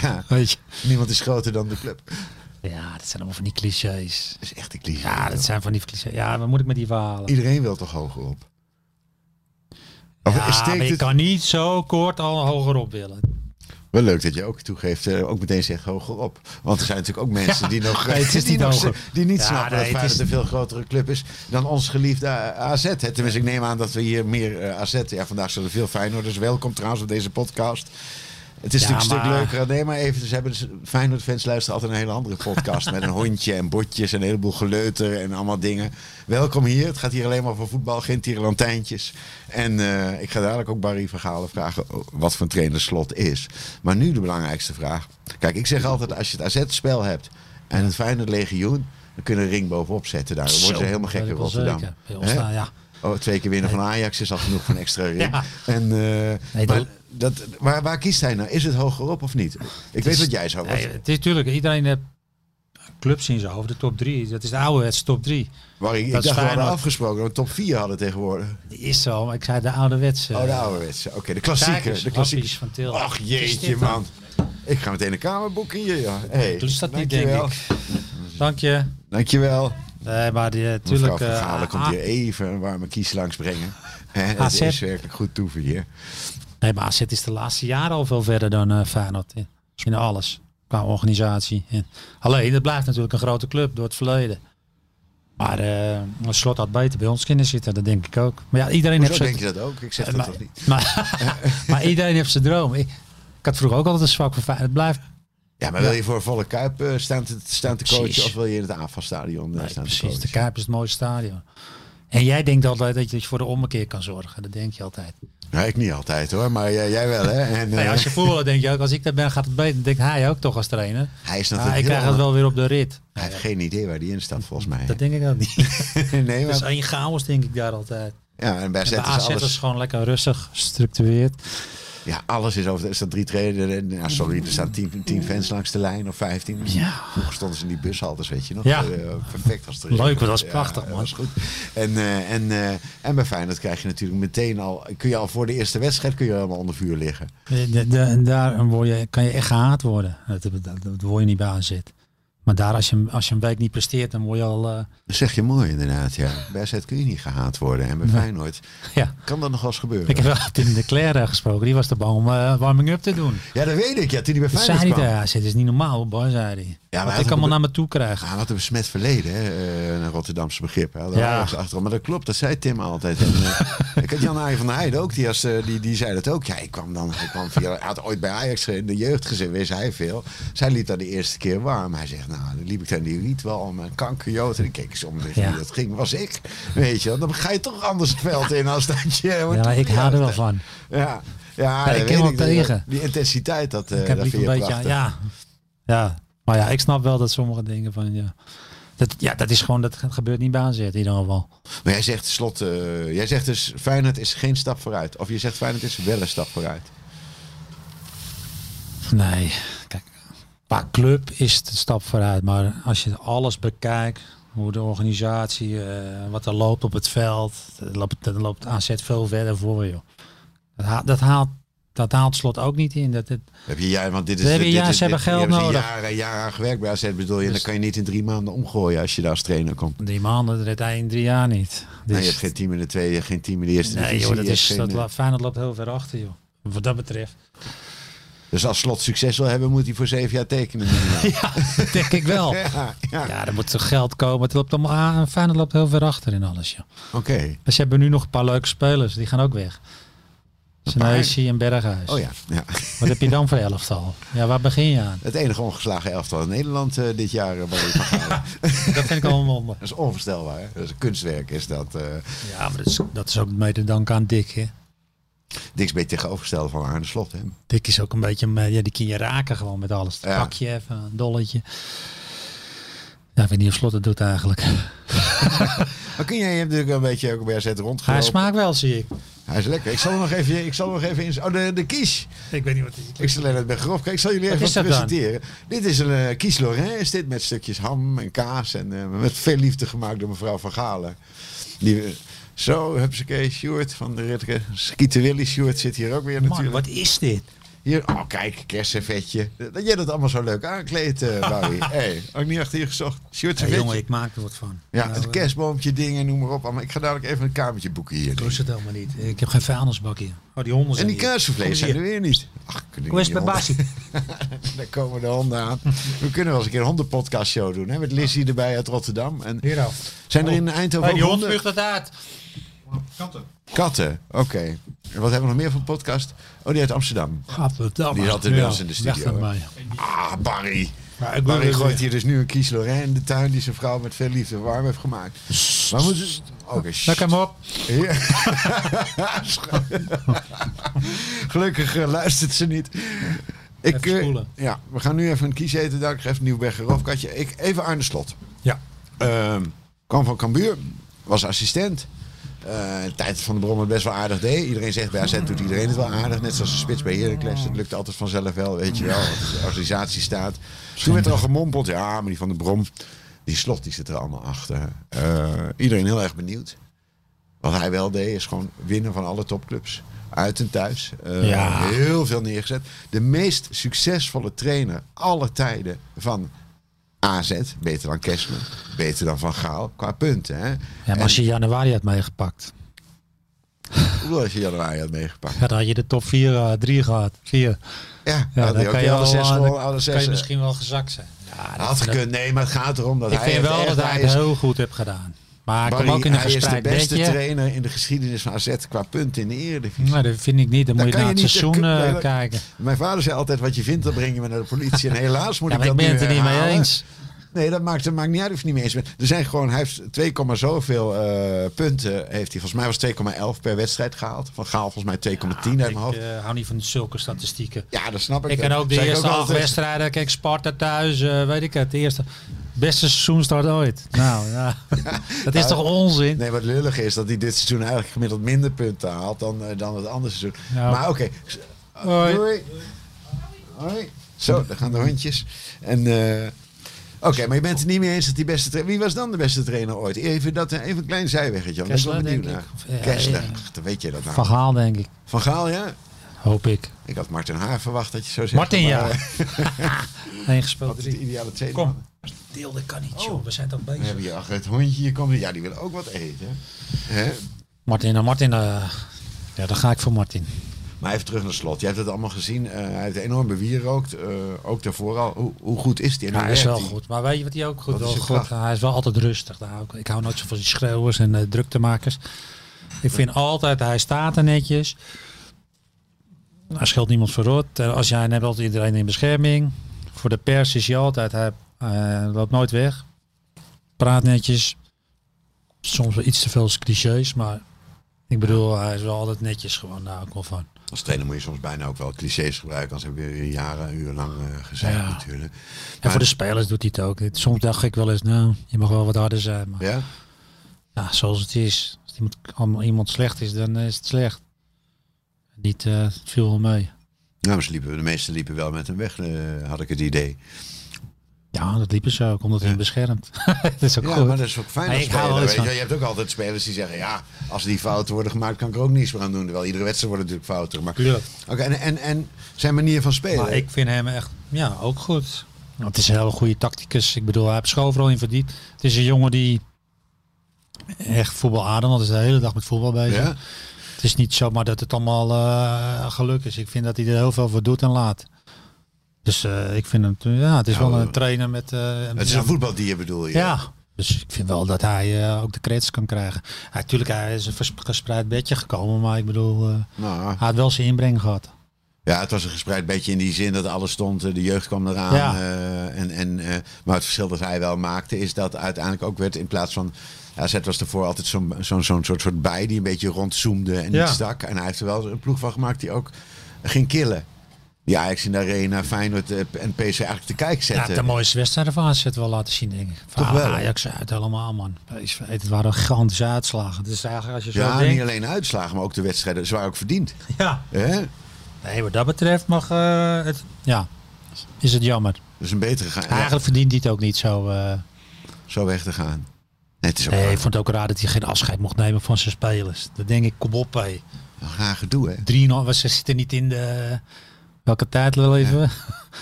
Speaker 3: ja,
Speaker 4: weet je.
Speaker 3: niemand is groter dan de club. Dat
Speaker 4: Ja, dat zijn allemaal van die clichés.
Speaker 3: is echt een cliché.
Speaker 4: Ja, dat zijn van die clichés. Ja, wat moet ik met die verhalen?
Speaker 3: Iedereen wil toch hoger op? Of
Speaker 4: Ja,
Speaker 3: steekt
Speaker 4: maar je
Speaker 3: het-
Speaker 4: kan niet zo kort al hoger op willen.
Speaker 3: Wel leuk dat je ook toegeeft, eh, ook meteen zegt hoger op. Want er zijn natuurlijk ook mensen
Speaker 4: Ja,
Speaker 3: die nog
Speaker 4: nee, het is
Speaker 3: die
Speaker 4: niet
Speaker 3: nog
Speaker 4: hoger.
Speaker 3: ze- die niet
Speaker 4: Ja,
Speaker 3: snappen
Speaker 4: nee,
Speaker 3: dat
Speaker 4: het
Speaker 3: Feyenoord
Speaker 4: is-
Speaker 3: een veel grotere club is dan ons geliefde eh, AZ. hè. Tenminste, ik neem aan dat we hier meer eh, AZ... Ja, vandaag zullen veel Feyenoorders. Welkom trouwens op deze podcast. Het is
Speaker 4: Ja,
Speaker 3: natuurlijk een
Speaker 4: maar-
Speaker 3: stuk leuker. Nee, maar even, dus hebben dus Feyenoord-fans luisteren altijd een hele andere podcast. met een hondje en botjes en een heleboel geleuter en allemaal dingen. Welkom hier. Het gaat hier alleen maar over voetbal. Geen tierenlantijntjes. En eh, ik ga dadelijk ook Barry Vergalen vragen oh, wat voor een trainer Slot is. Maar nu de belangrijkste vraag. Kijk, ik zeg altijd als je het AZ-spel hebt en het Feyenoord-legioen... dan kunnen we een ring bovenop zetten daar. Dan worden ze
Speaker 4: Zo,
Speaker 3: helemaal gek
Speaker 4: dat
Speaker 3: in
Speaker 4: weet ik wel
Speaker 3: Rotterdam.
Speaker 4: zeker. Bij ons
Speaker 3: Hè?
Speaker 4: staan, ja.
Speaker 3: Oh, twee keer winnen van Ajax is al genoeg van extra ring.
Speaker 4: Ja.
Speaker 3: En, eh, maar
Speaker 4: Nee, dat-
Speaker 3: dat, waar, waar kiest hij nou? Is het hogerop of niet? Ik weet wat jij zou
Speaker 4: Nee,
Speaker 3: nee,
Speaker 4: het is natuurlijk, iedereen heeft clubs in zijn hoofd. De top 3. Dat is de ouderwetse top 3.
Speaker 3: Waar ik, ik
Speaker 4: Dat
Speaker 3: dacht
Speaker 4: is
Speaker 3: we hadden
Speaker 4: Feyenoord.
Speaker 3: afgesproken dat we top 4 hadden tegenwoordig.
Speaker 4: Die is zo, maar ik zei de ouderwetse.
Speaker 3: Oh, de ouderwetse. Oké, de klassieker. De klassieker.
Speaker 4: van Til.
Speaker 3: Ach
Speaker 4: Is dit
Speaker 3: jeetje,
Speaker 4: dan?
Speaker 3: man. Ik ga meteen een kamerboek hier, ja. Hey,
Speaker 4: Doe ze Dus dat niet, denk
Speaker 3: dankjewel.
Speaker 4: ik. Dank je.
Speaker 3: Dankjewel.
Speaker 4: Nee, maar die, eh,
Speaker 3: Mevrouw
Speaker 4: tuurlijk...
Speaker 3: van
Speaker 4: eh,
Speaker 3: Galen komt
Speaker 4: A-
Speaker 3: hier even een warme kies langs brengen. Het
Speaker 4: AZ.
Speaker 3: is werkelijk goed toeven hier.
Speaker 4: Nee, maar AZ is de laatste jaren al veel verder dan eh Feyenoord. In, in alles. Qua organisatie. En- alleen, het blijft natuurlijk een grote club door het verleden. Maar eh Slot had beter bij ons kunnen zitten, dat denk ik ook. Maar ja, iedereen
Speaker 3: Hoezo
Speaker 4: heeft
Speaker 3: denk je
Speaker 4: zijn...
Speaker 3: dat ook? Ik zeg
Speaker 4: Eh,
Speaker 3: dat
Speaker 4: maar-
Speaker 3: toch niet?
Speaker 4: Maar, maar iedereen heeft zijn droom. Ik, ik had vroeger ook altijd een zwak voor Feyenoord. Het blijft...
Speaker 3: Ja, maar wil je voor volle Kuip eh, staan, te, staan te
Speaker 4: Precies.
Speaker 3: coachen of wil je in het AFA-stadion eh, staan te
Speaker 4: precies,
Speaker 3: coachen?
Speaker 4: de Kuip is het mooiste stadion. En jij denkt altijd dat je voor de ommekeer kan zorgen. Dat denk je altijd.
Speaker 3: Nee, ik niet altijd hoor, maar jij, jij wel hè. En,
Speaker 4: Nee,
Speaker 3: eh,
Speaker 4: als je voetballer denk je ook, als ik daar ben gaat het beter. Dan denkt hij ook toch als trainer.
Speaker 3: Hij is
Speaker 4: Ah,
Speaker 3: natuurlijk
Speaker 4: ik
Speaker 3: heel
Speaker 4: krijg het wel weer op de rit.
Speaker 3: Hij heeft geen idee waar die in staat volgens mij.
Speaker 4: Dat denk ik ook niet.
Speaker 3: nee,
Speaker 4: Dat is
Speaker 3: maar,
Speaker 4: één chaos, denk ik daar altijd.
Speaker 3: ja, en bij
Speaker 4: En
Speaker 3: AZ
Speaker 4: bij
Speaker 3: is
Speaker 4: AZ is
Speaker 3: dus alles,
Speaker 4: gewoon lekker rustig, gestructureerd.
Speaker 3: ja, alles is over. Er staan drie trainers. Nou, sorry, er staan tien, tien fans langs de lijn of vijftien.
Speaker 4: Ja.
Speaker 3: Vroeger stonden ze in die bushaltes, weet je nog.
Speaker 4: Ja.
Speaker 3: Eh, perfect als het
Speaker 4: Leuk,
Speaker 3: regent.
Speaker 4: want dat is
Speaker 3: Ja,
Speaker 4: prachtig, man.
Speaker 3: Dat is goed. En, eh, en, eh, en bij Feyenoord krijg je natuurlijk meteen al... Kun je al voor de eerste wedstrijd kun je helemaal onder vuur liggen.
Speaker 4: De- de- de- daar word je, kan je echt gehaat worden. Dat, dat, dat word je niet bij AZ. Maar daar, als je, als je een week niet presteert, dan word je al... eh,
Speaker 3: Dat zeg je mooi inderdaad, ja. Bij AZ kun je niet gehaat worden. En bij Feyenoord
Speaker 4: ja.
Speaker 3: kan dat nog wel eens gebeuren.
Speaker 4: Ik heb wel Tim de Cler eh, gesproken. Die was te bang om eh, warming-up te doen.
Speaker 3: Ja, dat weet ik. Ja, toen hij bij
Speaker 4: Toen zei
Speaker 3: Feyenoord
Speaker 4: hij
Speaker 3: kwam.
Speaker 4: daar, het is niet normaal, boy, zei hij.
Speaker 3: maar hij
Speaker 4: Wat
Speaker 3: had
Speaker 4: ik
Speaker 3: een
Speaker 4: allemaal
Speaker 3: be-
Speaker 4: naar me toe krijg.
Speaker 3: Ja, Ah, wat een besmet verleden, hè, eh, een Rotterdamse begrip. Hè. Daar
Speaker 4: Ja.
Speaker 3: hadden we eens achterom. Maar dat klopt, dat zei Tim altijd. En, eh, ik had Jan Arie van der Heijden ook, die, als, eh, die, die zei dat ook. Ja, ik kwam dan, hij kwam via, hij had ooit bij Ajax in de jeugd gezien, wist hij veel. Zij liep daar de eerste keer warm. Hij zegt, nou, dan liep ik daar in die rietwal met een kankerjoot. En ik keek eens om tegen
Speaker 4: Ja.
Speaker 3: wie dat ging, was ik. Weet je, wel. dan ga je toch anders het veld in als dat je...
Speaker 4: Ja, maar ik hou er wel van.
Speaker 3: Ja, ja,
Speaker 4: Ja,
Speaker 3: dat
Speaker 4: ik ken
Speaker 3: weet
Speaker 4: wel
Speaker 3: dat-
Speaker 4: tegen.
Speaker 3: Die intensiteit, dat, eh
Speaker 4: Ik heb
Speaker 3: dat
Speaker 4: liever
Speaker 3: vind
Speaker 4: een
Speaker 3: je
Speaker 4: beetje,
Speaker 3: prachtig.
Speaker 4: ja, ja. Maar ja, ik snap wel dat sommige dingen van, ja. Dat, ja, dat is gewoon, dat gebeurt niet bij AZ in ieder geval.
Speaker 3: Maar jij zegt, slot, eh, jij zegt dus Feyenoord is geen stap vooruit. Of je zegt Feyenoord is wel een stap vooruit.
Speaker 4: Nee, kijk, qua club is het een stap vooruit. Maar als je alles bekijkt, hoe de organisatie, eh, wat er loopt op het veld, dan loopt, dan loopt AZ veel verder voor, joh. Dat, haalt- dat haalt... Dat haalt slot ook niet in. Dat, dat,
Speaker 3: Heb je, ja, want dit is,
Speaker 4: We hebben
Speaker 3: dit,
Speaker 4: ja,
Speaker 3: is-
Speaker 4: ze hebben
Speaker 3: dit-
Speaker 4: geld
Speaker 3: hier hebben ze
Speaker 4: nodig.
Speaker 3: jaren en jaren aan gewerkt bij AZ bedoel je. En dan
Speaker 4: Dus-
Speaker 3: kan je niet in drie maanden omgooien als je daar als trainer komt.
Speaker 4: drie maanden, dat redt hij in drie jaar niet.
Speaker 3: Nee,
Speaker 4: Dus-
Speaker 3: je hebt geen team in de tweede, je hebt geen team in de eerste
Speaker 4: nee,
Speaker 3: divisie.
Speaker 4: joh, dat
Speaker 3: je hebt
Speaker 4: is,
Speaker 3: geen,
Speaker 4: dat,
Speaker 3: eh,
Speaker 4: loopt- Feyenoord loopt heel ver achter, joh. Wat dat betreft.
Speaker 3: Dus als Slot succes wil hebben, moet hij voor zeven jaar tekenen. minimaal.
Speaker 4: Ja, dat denk ik wel.
Speaker 3: ja, ja.
Speaker 4: Ja, er moet toch geld komen. Het loopt allemaal aan. Feyenoord loopt heel ver achter in alles. Joh.
Speaker 3: Oké.
Speaker 4: Maar ze hebben nu nog een paar leuke spelers. Die gaan ook weg. Senesi en Berghuis.
Speaker 3: Oh ja. ja.
Speaker 4: Wat heb je dan voor elftal? Ja, waar begin je aan?
Speaker 3: Het enige ongeslagen elftal in Nederland eh, dit jaar. eh, waar ik van ga.
Speaker 4: Dat vind ik al een wonder.
Speaker 3: dat is onvoorstelbaar. Hè? Dat is een kunstwerk, is dat. eh
Speaker 4: Ja, maar dat is, dat is ook mee te danken aan Dick. Hè?
Speaker 3: niks beter tegenovergesteld van Arne Slot. Hè?
Speaker 4: Dick is ook een beetje... een, eh, Ja, die kun je raken gewoon met alles.
Speaker 3: Ja.
Speaker 4: Pak je even, een dolletje. Ja, ik weet niet of Slot het doet eigenlijk.
Speaker 3: Maar kun jij, je hebt natuurlijk een beetje ook bij AZ rondgelopen.
Speaker 4: Hij smaakt wel, zie ik.
Speaker 3: Hij is lekker. Ik zal hem nog even, ik zal hem nog even in. Oh, de, de kies.
Speaker 4: Ik weet niet wat hij...
Speaker 3: Ik zal Lennart bij Grofka. Ik zal jullie
Speaker 4: Wat
Speaker 3: even
Speaker 4: is dat dan?
Speaker 3: presenteren. Dit is een eh, kies Lorrain. Is dit met stukjes ham en kaas en eh, met veel liefde gemaakt door mevrouw Van Galen. Die, eh, zo, hupsakee, Sjoerd van de Ritke. Skieten Willy Sjoerd zit hier ook weer
Speaker 4: Man,
Speaker 3: natuurlijk.
Speaker 4: wat is dit?
Speaker 3: Hier, oh kijk, kerstservetje. Dat jij dat allemaal zo leuk aankleedt, eh Barry. hey, ook niet achter je gezocht. Sjoerd
Speaker 4: Ja,
Speaker 3: servetje.
Speaker 4: jongen, ik maak er wat van.
Speaker 3: ja,
Speaker 4: Nou,
Speaker 3: het
Speaker 4: eh,
Speaker 3: kerstboompje dingen, noem maar op. Maar ik ga dadelijk even een kamertje boeken hier.
Speaker 4: Ik lust het helemaal niet. Ik heb geen vuilnisbak hier. Oh, die honden
Speaker 3: En
Speaker 4: zijn
Speaker 3: die
Speaker 4: hier.
Speaker 3: kaasvlees
Speaker 4: Kom
Speaker 3: zijn
Speaker 4: hier.
Speaker 3: er weer niet. Ach, kunnen
Speaker 4: Hoe is het
Speaker 3: die
Speaker 4: met
Speaker 3: honden-
Speaker 4: Basie?
Speaker 3: Daar komen de honden aan. We kunnen wel eens een keer een hondenpodcast show doen. Hè? Met Lizzie erbij uit Rotterdam. En
Speaker 4: Hier al.
Speaker 3: zijn er in Eindhoven ook
Speaker 4: die hond
Speaker 3: honden?
Speaker 4: vlucht het uit.
Speaker 5: Katten.
Speaker 3: Katten, oké. En wat hebben we nog meer van podcast? Oh, die uit Amsterdam.
Speaker 4: Gadverdamme.
Speaker 3: Die zat er bij ons in de
Speaker 4: weg
Speaker 3: studio,
Speaker 4: ermee.
Speaker 3: Ah, Barry.
Speaker 4: Maar ik wil
Speaker 3: Barry
Speaker 4: weer-
Speaker 3: gooit hier dus nu een kies Lorraine in de tuin die zijn vrouw met veel liefde warm heeft gemaakt. Maar moeten ze... Oké,
Speaker 4: Lek hem op.
Speaker 3: Ja. Gelukkig eh, luistert ze niet. Ik,
Speaker 4: Even
Speaker 3: eh,
Speaker 4: spoelen.
Speaker 3: ja, we gaan nu even een kies eten. Daar geef Nieuwberg een rofkatje. Ik, even Arne Slot.
Speaker 4: Ja.
Speaker 3: Ehm, kwam van Cambuur. Was assistent. Eh, in de tijd van de Brommer best wel aardig deed. Iedereen zegt bij AZ doet iedereen het wel aardig. Net zoals de spits bij Heracles. Het lukt altijd vanzelf wel, weet je wel. Als de organisatie staat. Toen werd er al gemompeld. Ja, maar die van de Brom, die slot, die zit er allemaal achter. Eh, iedereen heel erg benieuwd. Wat hij wel deed, is gewoon winnen van alle topclubs. Uit en thuis. Eh,
Speaker 4: Ja.
Speaker 3: Heel veel neergezet. De meest succesvolle trainer aller tijden van AZ. Beter dan Kessler. Beter dan Van Gaal. Qua punten. Hè?
Speaker 4: Ja, maar als je januari had meegepakt,
Speaker 3: Hoewel als je januari had meegepakt.
Speaker 4: ja, dan had je de top 4, 3 gehad. 4.
Speaker 3: Ja,
Speaker 4: Ja,
Speaker 3: had
Speaker 4: dan
Speaker 3: hij ook
Speaker 4: kan je,
Speaker 3: alle
Speaker 4: wel,
Speaker 3: zes
Speaker 4: eh,
Speaker 3: gewoon,
Speaker 4: dan
Speaker 3: alle
Speaker 4: kan
Speaker 3: zes
Speaker 4: je misschien wel gezakt zijn. Ja, dat
Speaker 3: had
Speaker 4: vind ik-
Speaker 3: gekund. Nee, maar het gaat erom dat
Speaker 4: ik
Speaker 3: hij
Speaker 4: vind
Speaker 3: heeft
Speaker 4: wel
Speaker 3: echt-
Speaker 4: dat hij het
Speaker 3: is-
Speaker 4: heel goed heeft gedaan. Maar ik
Speaker 3: Barry,
Speaker 4: kwam ook in een
Speaker 3: hij is de
Speaker 4: gesprek.
Speaker 3: beste
Speaker 4: Weet je?
Speaker 3: trainer in de geschiedenis van AZ qua punten in de eredivisie.
Speaker 4: Nee, dat vind ik niet. Dan moet
Speaker 3: Dat
Speaker 4: je
Speaker 3: kan
Speaker 4: naar
Speaker 3: je
Speaker 4: het
Speaker 3: niet.
Speaker 4: seizoen
Speaker 3: Dat-
Speaker 4: eh,
Speaker 3: dat-
Speaker 4: kijken.
Speaker 3: Mijn vader zei altijd, wat je vindt, dat breng je me naar de politie. En helaas moet
Speaker 4: Ja,
Speaker 3: ik
Speaker 4: maar
Speaker 3: dat
Speaker 4: ik ben
Speaker 3: nu eh,
Speaker 4: het er niet mee
Speaker 3: herhalen.
Speaker 4: eens.
Speaker 3: Nee, dat maakt, dat maakt niet uit of je het niet mee eens bent. Er zijn gewoon, hij heeft 2, komma zoveel eh, punten. Heeft hij, volgens mij was 2,11 per wedstrijd gehaald. Van Gaal volgens mij 2,10 uit mijn
Speaker 4: Ik
Speaker 3: hoofd.
Speaker 4: eh, hou niet van zulke statistieken.
Speaker 3: ja, dat snap ik.
Speaker 4: Ik
Speaker 3: Dat
Speaker 4: kan ook de
Speaker 3: zei ik
Speaker 4: eerste acht
Speaker 3: altijd.
Speaker 4: wedstrijden. Kijk, Sparta thuis, eh, weet ik het. De eerste beste seizoenstart ooit. Nou, ja. dat is toch onzin?
Speaker 3: Nee, wat lullig is dat hij dit seizoen eigenlijk gemiddeld minder punten haalt dan, eh, dan het andere seizoen.
Speaker 4: Nou.
Speaker 3: Maar oké.
Speaker 4: Hoi.
Speaker 3: Doei. Hoi. Zo, daar gaan de hondjes. En, eh, oké, maar je bent het niet mee eens dat die beste trainer... Wie was dan de beste trainer ooit? Even, dat, eh, even een klein zijweggetje. want Ik ben wel
Speaker 4: Kessler,
Speaker 3: benieuwd
Speaker 4: denk
Speaker 3: naar.
Speaker 4: ik. Of, ja,
Speaker 3: Kessler.
Speaker 4: ja.
Speaker 3: Ach, dan weet je dat nou. Van,
Speaker 4: Verhaal, denk ik.
Speaker 3: Gaal, ja?
Speaker 4: Hoop ik.
Speaker 3: Ik had Martin Haar verwacht dat je zo zegt.
Speaker 4: Martin,
Speaker 3: maar,
Speaker 4: ja.
Speaker 3: eh,
Speaker 4: 1 gespeeld
Speaker 3: Dat is de
Speaker 4: 3.
Speaker 3: ideale tweede
Speaker 4: Kom. Oh.
Speaker 3: man.
Speaker 4: Deelde kan niet, joh. We zijn toch
Speaker 3: We
Speaker 4: bezig.
Speaker 3: hebben hier achter het hondje. Hier komt, ja, die wil ook wat eten. Hè?
Speaker 4: Martin, nou, Martin. eh, ja, dan ga ik voor Martin.
Speaker 3: Maar even terug naar slot. Je hebt het allemaal gezien. Eh, hij heeft enorm bewierookt. eh, ook daarvoor al. Hoe, hoe goed is die? En
Speaker 4: Ja,
Speaker 3: hoe
Speaker 4: hij is
Speaker 3: werkt
Speaker 4: wel
Speaker 3: die?
Speaker 4: goed. Maar weet je wat hij ook goed
Speaker 3: Wat is
Speaker 4: wel
Speaker 3: zijn
Speaker 4: goed?
Speaker 3: kracht?
Speaker 4: Hij is wel altijd rustig. Daar hou ik, ik hou nooit zo van die schreeuwers en eh, druktemakers. Ik vind altijd, hij staat er netjes. Hij scheelt niemand verrot. Eh, Als jij hem hebt, altijd iedereen in bescherming. Voor de pers is hij altijd, hij eh, loopt nooit weg. Praat netjes. Soms wel iets te veel clichés, maar ik bedoel, hij is wel altijd netjes gewoon. Daar hou ik wel van.
Speaker 3: Als trainer moet je soms bijna ook wel clichés gebruiken. Anders heb je weer jaren, en uren lang eh gezegd
Speaker 4: Ja.
Speaker 3: natuurlijk.
Speaker 4: En voor de spelers doet hij het ook. Soms dacht ik wel eens, nou, je mag wel wat harder zijn. Maar
Speaker 3: Ja?
Speaker 4: Ja, zoals het is. Als iemand, allemaal iemand slecht is, dan eh, is het slecht. Niet eh, het viel wel mee.
Speaker 3: Nou, ze liepen, de meesten liepen wel met hem weg, eh, had ik het idee.
Speaker 4: Ja, dat liep zo ook, omdat hij hem beschermt. dat is ook
Speaker 3: Ja,
Speaker 4: goed.
Speaker 3: maar dat is ook fijn
Speaker 4: Nee,
Speaker 3: als
Speaker 4: ik hou wel
Speaker 3: speler.
Speaker 4: eens
Speaker 3: Weet je.
Speaker 4: van-
Speaker 3: je hebt ook altijd spelers die zeggen, ja, als die fouten worden gemaakt, kan ik er ook niets meer aan doen. Terwijl iedere wedstrijd wordt natuurlijk fouter. Maar... Oké,
Speaker 4: Tuurlijk.
Speaker 3: en, en, en zijn manier van spelen.
Speaker 4: Maar ik vind hem echt, ja, ook goed. Want Het is een hele goede tacticus. Ik bedoel, hij heeft zich overal in verdiend. Het is een jongen die echt voetbal ademt, want hij is de hele dag met voetbal bezig.
Speaker 3: Ja?
Speaker 4: Het is niet zomaar dat het allemaal eh, geluk is. Ik vind dat hij er heel veel voor doet en laat. Dus eh, ik vind hem, ja, het is
Speaker 3: Nou,
Speaker 4: wel
Speaker 3: eh,
Speaker 4: een trainer met... eh,
Speaker 3: Het is een voetbaldier bedoel je?
Speaker 4: Ja. Dus ik vind wel dat hij eh, ook de credits kan krijgen. Hij, tuurlijk, hij is een vers- gespreid bedje gekomen, maar ik bedoel, eh,
Speaker 3: Nou,
Speaker 4: hij had wel zijn inbreng gehad.
Speaker 3: Ja, het was een gespreid beetje in die zin dat alles stond. eh, De jeugd kwam eraan.
Speaker 4: Ja.
Speaker 3: eh, en, en, eh, maar het verschil dat hij wel maakte is dat uiteindelijk ook werd in plaats van... AZ was ervoor altijd zo'n zo'n zo'n soort, soort bij die een beetje rondzoomde en
Speaker 4: Ja.
Speaker 3: niet stak. En hij heeft er wel een ploeg van gemaakt die ook ging killen. Die Ajax in de Arena, Feyenoord eh, en PC eigenlijk te kijk
Speaker 4: Ja, de
Speaker 3: zetten.
Speaker 4: mooiste wedstrijd van AZ wel laten zien, denk ik. Van
Speaker 3: eh, Toch wel, hè?
Speaker 4: Ajax uit allemaal, man. PSV, Het waren gigantische uitslagen. Dus eigenlijk als je zo
Speaker 3: Ja,
Speaker 4: denkt...
Speaker 3: niet alleen uitslagen, maar ook de wedstrijden zwaar ook verdiend.
Speaker 4: Ja,
Speaker 3: Hè?
Speaker 4: nee, wat dat betreft mag eh, het... Ja, is het jammer.
Speaker 3: Dus een betere gaan. ja,
Speaker 4: Eigenlijk verdient hij het ook niet zo... eh,
Speaker 3: zo weg te gaan. Nee, het is ook
Speaker 4: nee,
Speaker 3: wel
Speaker 4: ik vond het ook raar dat hij geen afscheid mocht nemen van zijn spelers. Dat denk ik, kom op, hé.
Speaker 3: een raar gedoe, hè?
Speaker 4: 3,5, ze zitten niet in de... Welke tijd wil even?
Speaker 3: Hij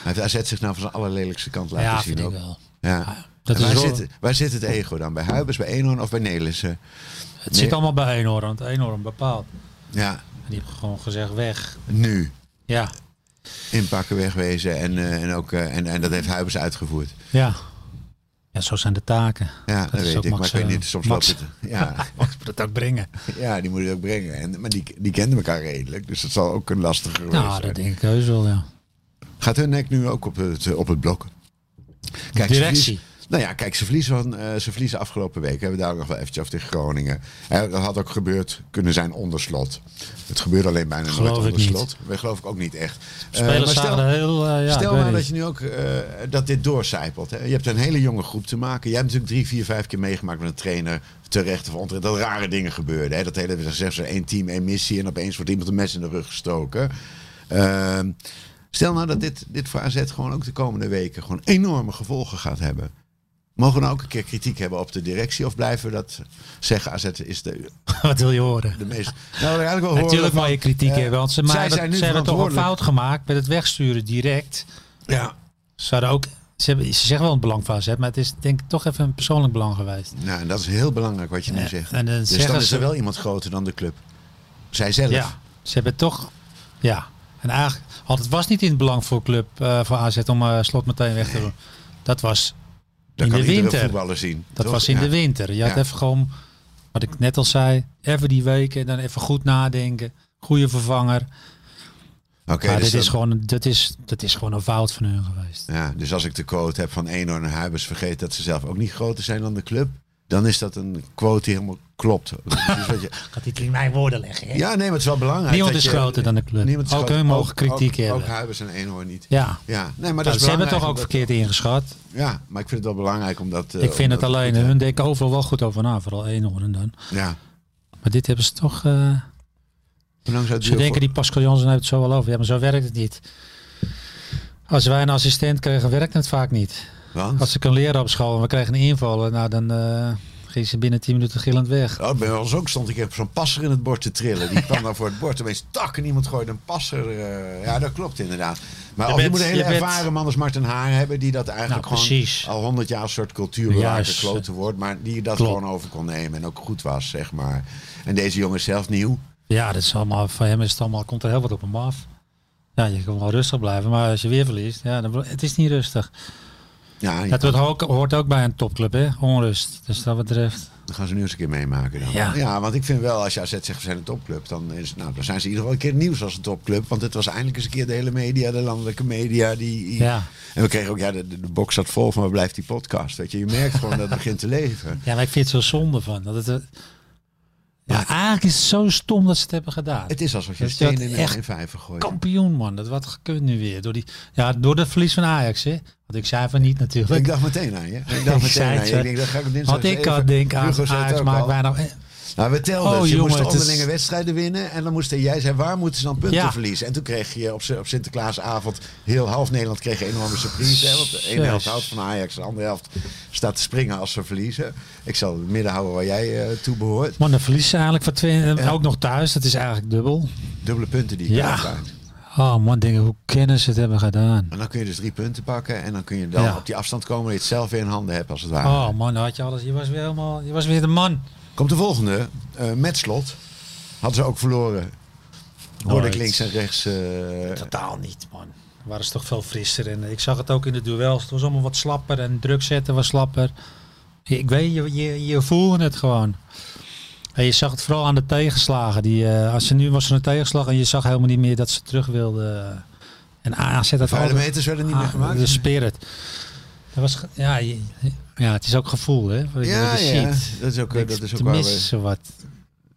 Speaker 3: heeft AZ zich nou van zijn allerlelijkste kant laten
Speaker 4: Ja,
Speaker 3: zien
Speaker 4: vind ik
Speaker 3: ook.
Speaker 4: wel.
Speaker 3: Ja.
Speaker 4: Dat
Speaker 3: En
Speaker 4: is
Speaker 3: waar,
Speaker 4: wel-
Speaker 3: zit, waar zit het ego dan? Bij Huibers, bij Eenhoorn of bij Nelissen?
Speaker 4: Het zit allemaal bij Eenhoorn, want Eenhoorn bepaalt.
Speaker 3: Ja,
Speaker 4: En die heeft gewoon gezegd weg.
Speaker 3: nu.
Speaker 4: Ja,
Speaker 3: Inpakken, wegwezen en, eh, en, ook, eh, en, en dat heeft Huibers uitgevoerd.
Speaker 4: ja. Ja, zo zijn de taken.
Speaker 3: Ja, dat,
Speaker 4: is
Speaker 3: weet
Speaker 4: ook
Speaker 3: ik. Maar ik
Speaker 4: Max,
Speaker 3: weet
Speaker 4: eh,
Speaker 3: niet, soms
Speaker 4: Max.
Speaker 3: loopt het. Ja,
Speaker 4: Mag ik dat ook brengen?
Speaker 3: ja, die moet het ook brengen. En, maar die, die kenden elkaar redelijk, dus dat zal ook een lastige geweest
Speaker 4: Nou,
Speaker 3: zijn. Eh,
Speaker 4: dat denk ik heus wel, ja.
Speaker 3: Gaat hun nek nu ook op het, op het blok? Kijk,
Speaker 4: Directie.
Speaker 3: ze verliezen- Nou ja, kijk, ze verliezen, van, eh, ze verliezen afgelopen week. Hebben we daar ook nog wel eventjes over tegen Groningen. Hè, dat had ook gebeurd kunnen zijn onder slot. Het gebeurt alleen bijna
Speaker 4: Geloof
Speaker 3: nooit
Speaker 4: ik
Speaker 3: onder
Speaker 4: niet.
Speaker 3: slot. Dat geloof ik ook niet echt. Eh, maar
Speaker 4: Spelers
Speaker 3: stel-
Speaker 4: zagen er heel... eh, ja, ik
Speaker 3: Stel
Speaker 4: weet
Speaker 3: nou
Speaker 4: niet.
Speaker 3: dat je nu ook eh, dat dit doorcijpelt. Hè? Je hebt een hele jonge groep te maken. Je hebt natuurlijk drie, vier, vijf keer meegemaakt met een trainer. Terecht of onterecht. Dat rare dingen gebeurden. Hè? Dat hele, we zeggen één team, één missie. En opeens wordt iemand een mes in de rug gestoken. Ehm, stel nou dat dit, dit voor AZ gewoon ook de komende weken gewoon enorme gevolgen gaat hebben. Mogen we nou ook een keer kritiek hebben op de directie? Of blijven we dat zeggen? AZ is de,
Speaker 4: Wat wil je horen?
Speaker 3: de meest... Nou, we eigenlijk wel horen
Speaker 4: Natuurlijk
Speaker 3: van-
Speaker 4: mag je kritiek
Speaker 3: eh,
Speaker 4: hebben, want ze, maar
Speaker 3: zij
Speaker 4: dat-
Speaker 3: zijn nu
Speaker 4: ze hebben toch een
Speaker 3: verantwoordelijk.
Speaker 4: fout gemaakt met het wegsturen direct.
Speaker 3: Ja.
Speaker 4: Ze, hadden ook, ze, hebben, ze zeggen wel een belang van AZ, maar het is denk ik toch even een persoonlijk belang geweest.
Speaker 3: Nou, en dat is heel belangrijk wat je nu
Speaker 4: Ja,
Speaker 3: zegt.
Speaker 4: en dan
Speaker 3: dus
Speaker 4: zeggen
Speaker 3: dan is
Speaker 4: ze-
Speaker 3: er wel iemand groter dan de club. Zij zelf.
Speaker 4: Ja, ze hebben toch... Ja, en eigenlijk had het was niet in het belang voor club, eh, voor AZ om eh, slot meteen weg te doen. Dat was
Speaker 3: dat
Speaker 4: in
Speaker 3: kan
Speaker 4: de
Speaker 3: iedere
Speaker 4: winter.
Speaker 3: voetballer zien.
Speaker 4: Dat
Speaker 3: toch?
Speaker 4: was in
Speaker 3: Ja.
Speaker 4: de winter. Je had
Speaker 3: Ja.
Speaker 4: even gewoon, wat ik net al zei, even die weken en dan even goed nadenken. Goede vervanger.
Speaker 3: Oké,
Speaker 4: maar
Speaker 3: dus,
Speaker 4: dit is
Speaker 3: dat-
Speaker 4: gewoon, een- dat, is, dat is gewoon een fout van hun geweest.
Speaker 3: ja, dus als ik de quote heb van Eenhoorn en Huibers, vergeet dat ze zelf ook niet groter zijn dan de club. Dan is dat een quote die helemaal klopt. Dus wat je-
Speaker 4: Gaat niet in mijn woorden leggen.
Speaker 3: ja, nee, maar het is wel belangrijk.
Speaker 4: Niemand
Speaker 3: dat
Speaker 4: is
Speaker 3: je-
Speaker 4: groter dan de club.
Speaker 3: Niemand is
Speaker 4: Ook
Speaker 3: groter.
Speaker 4: hun mogen kritiek
Speaker 3: ook,
Speaker 4: hebben.
Speaker 3: Ook Huibers en Eenhoorn niet.
Speaker 4: Ja,
Speaker 3: Ja, nee, maar
Speaker 4: Nou,
Speaker 3: dat is
Speaker 4: ze hebben toch ook
Speaker 3: belangrijk
Speaker 4: verkeerd ingeschat.
Speaker 3: om dat- Ja, maar ik vind het wel belangrijk omdat...
Speaker 4: ik vind het alleen, hun denken overal wel goed over na, vooral Eenhoorn dan.
Speaker 3: Ja.
Speaker 4: Maar dit hebben ze toch, eh,
Speaker 3: Hoe lang zou het
Speaker 4: ze
Speaker 3: duren
Speaker 4: denken die Pascal Jansen heeft het zo wel over. Ja, maar zo werkt het niet. Als wij een assistent kregen, werkt het vaak niet.
Speaker 3: voor- Want?
Speaker 4: Als ik een leraar op school en we kregen een invaller, nou dan eh ging ze binnen 10 minuten gillend weg.
Speaker 3: Oh, bij ons ook stond ik op zo'n passer in het bord te trillen. Die kwam dan voor het bord. Opeens tak en iemand gooide een passer. eh, ja, dat klopt inderdaad. Maar
Speaker 4: Je
Speaker 3: je,
Speaker 4: bent-
Speaker 3: je moet een hele
Speaker 4: je bent-
Speaker 3: ervaren man als Martin Haar hebben... die dat eigenlijk
Speaker 4: Nou,
Speaker 3: gewoon
Speaker 4: precies.
Speaker 3: al honderd jaar een soort cultuurbewaker
Speaker 4: Juist.
Speaker 3: klote wordt... maar die dat
Speaker 4: Klopt.
Speaker 3: gewoon over kon nemen en ook goed was, zeg maar. En deze jongen is zelf nieuw.
Speaker 4: Ja, dat is allemaal, van hem is het allemaal, komt er heel wat op hem af. Ja, je kan wel rustig blijven, maar als je weer verliest, ja, dan, het is niet rustig.
Speaker 3: Ja,
Speaker 4: Dat wordt ook, hoort ook bij een topclub, hè? Onrust. Dus dat betreft.
Speaker 3: dan gaan ze nu eens een keer meemaken dan.
Speaker 4: Ja.
Speaker 3: Ja. want ik vind wel, als je AZ zegt we zijn een topclub... Dan, is, nou, dan zijn ze in ieder geval een keer nieuws als een topclub. Want het was eindelijk eens een keer de hele media, de landelijke media... die
Speaker 4: Ja.
Speaker 3: En we kregen ook, ja, de, de, de box zat vol van waar blijft die podcast? Weet je, je merkt gewoon dat het begint te leven.
Speaker 4: ja, maar ik vind het zo zonde van. Dat het, eh, ja, eigenlijk is het zo stom dat ze het hebben gedaan.
Speaker 3: Het is alsof je een
Speaker 4: Dus dat
Speaker 3: steen in
Speaker 4: echt
Speaker 3: een vijver gooit.
Speaker 4: Kampioen, man. Dat wat gekund nu weer. Door, die, ja, door de verlies van Ajax, hè? Want ik zei van niet natuurlijk.
Speaker 3: Ik dacht meteen aan je. Ik
Speaker 4: Ik
Speaker 3: dacht meteen
Speaker 4: zei
Speaker 3: aan
Speaker 4: het,
Speaker 3: je. Ik denk, dat ga ik op dinsdag
Speaker 4: Want
Speaker 3: eens
Speaker 4: ik
Speaker 3: even-
Speaker 4: had denk aan
Speaker 3: Hugo zei het
Speaker 4: Ajax
Speaker 3: ook
Speaker 4: maakt
Speaker 3: al.
Speaker 4: bijna... eh,
Speaker 3: Nou, we telden.
Speaker 4: Oh,
Speaker 3: ze
Speaker 4: jongen,
Speaker 3: moesten
Speaker 4: het is-
Speaker 3: onderlinge wedstrijden winnen. En dan moesten jij zei, waar moeten ze dan punten
Speaker 4: Ja.
Speaker 3: verliezen? En toen kreeg je op, Sin- op Sinterklaasavond heel half Nederland kreeg een enorme surprise. Hè, want de ene
Speaker 4: Jezus.
Speaker 3: helft houdt van Ajax, de andere helft staat te springen als ze verliezen. Ik zal het midden houden waar jij eh, toe behoort.
Speaker 4: Man, dan verliezen ze eigenlijk voor twee... en Ook nog thuis. Dat is eigenlijk dubbel.
Speaker 3: Dubbele punten die je
Speaker 4: Ja.
Speaker 3: kwijtraakt.
Speaker 4: Oh man, denk ik, hoe kennen ze het hebben gedaan?
Speaker 3: En dan kun je dus drie punten pakken. En dan kun je dan
Speaker 4: Ja.
Speaker 3: op die afstand komen dat je het zelf weer in handen hebt, als het ware.
Speaker 4: Oh man, dan had je alles. Je was weer helemaal... Je was weer de man.
Speaker 3: Komt de volgende. eh met slot. Hadden ze ook verloren. Hoorde ik
Speaker 4: Nooit.
Speaker 3: links en rechts. eh,
Speaker 4: Totaal niet, man. Waren ze toch veel frisser. En eh, ik zag het ook in de duels. Het was allemaal wat slapper en druk zetten was slapper. Je- Ik weet, je, je, je voelde het gewoon. En je zag het vooral aan de tegenslagen. Die, eh, als ze nu was er een tegenslag en je zag helemaal niet meer dat ze terug wilden. En AZ had
Speaker 3: vuile
Speaker 4: altijd-
Speaker 3: meters werden niet meer
Speaker 4: Ah,
Speaker 3: gemaakt.
Speaker 4: De spirit. Dat was, ge- ja, je- ja, het is ook gevoel, hè? Wat je
Speaker 3: ja,
Speaker 4: wat je
Speaker 3: ja.
Speaker 4: ziet.
Speaker 3: Dat is ook, eh, dat is ook
Speaker 4: Te
Speaker 3: waar, we-
Speaker 4: missen wat.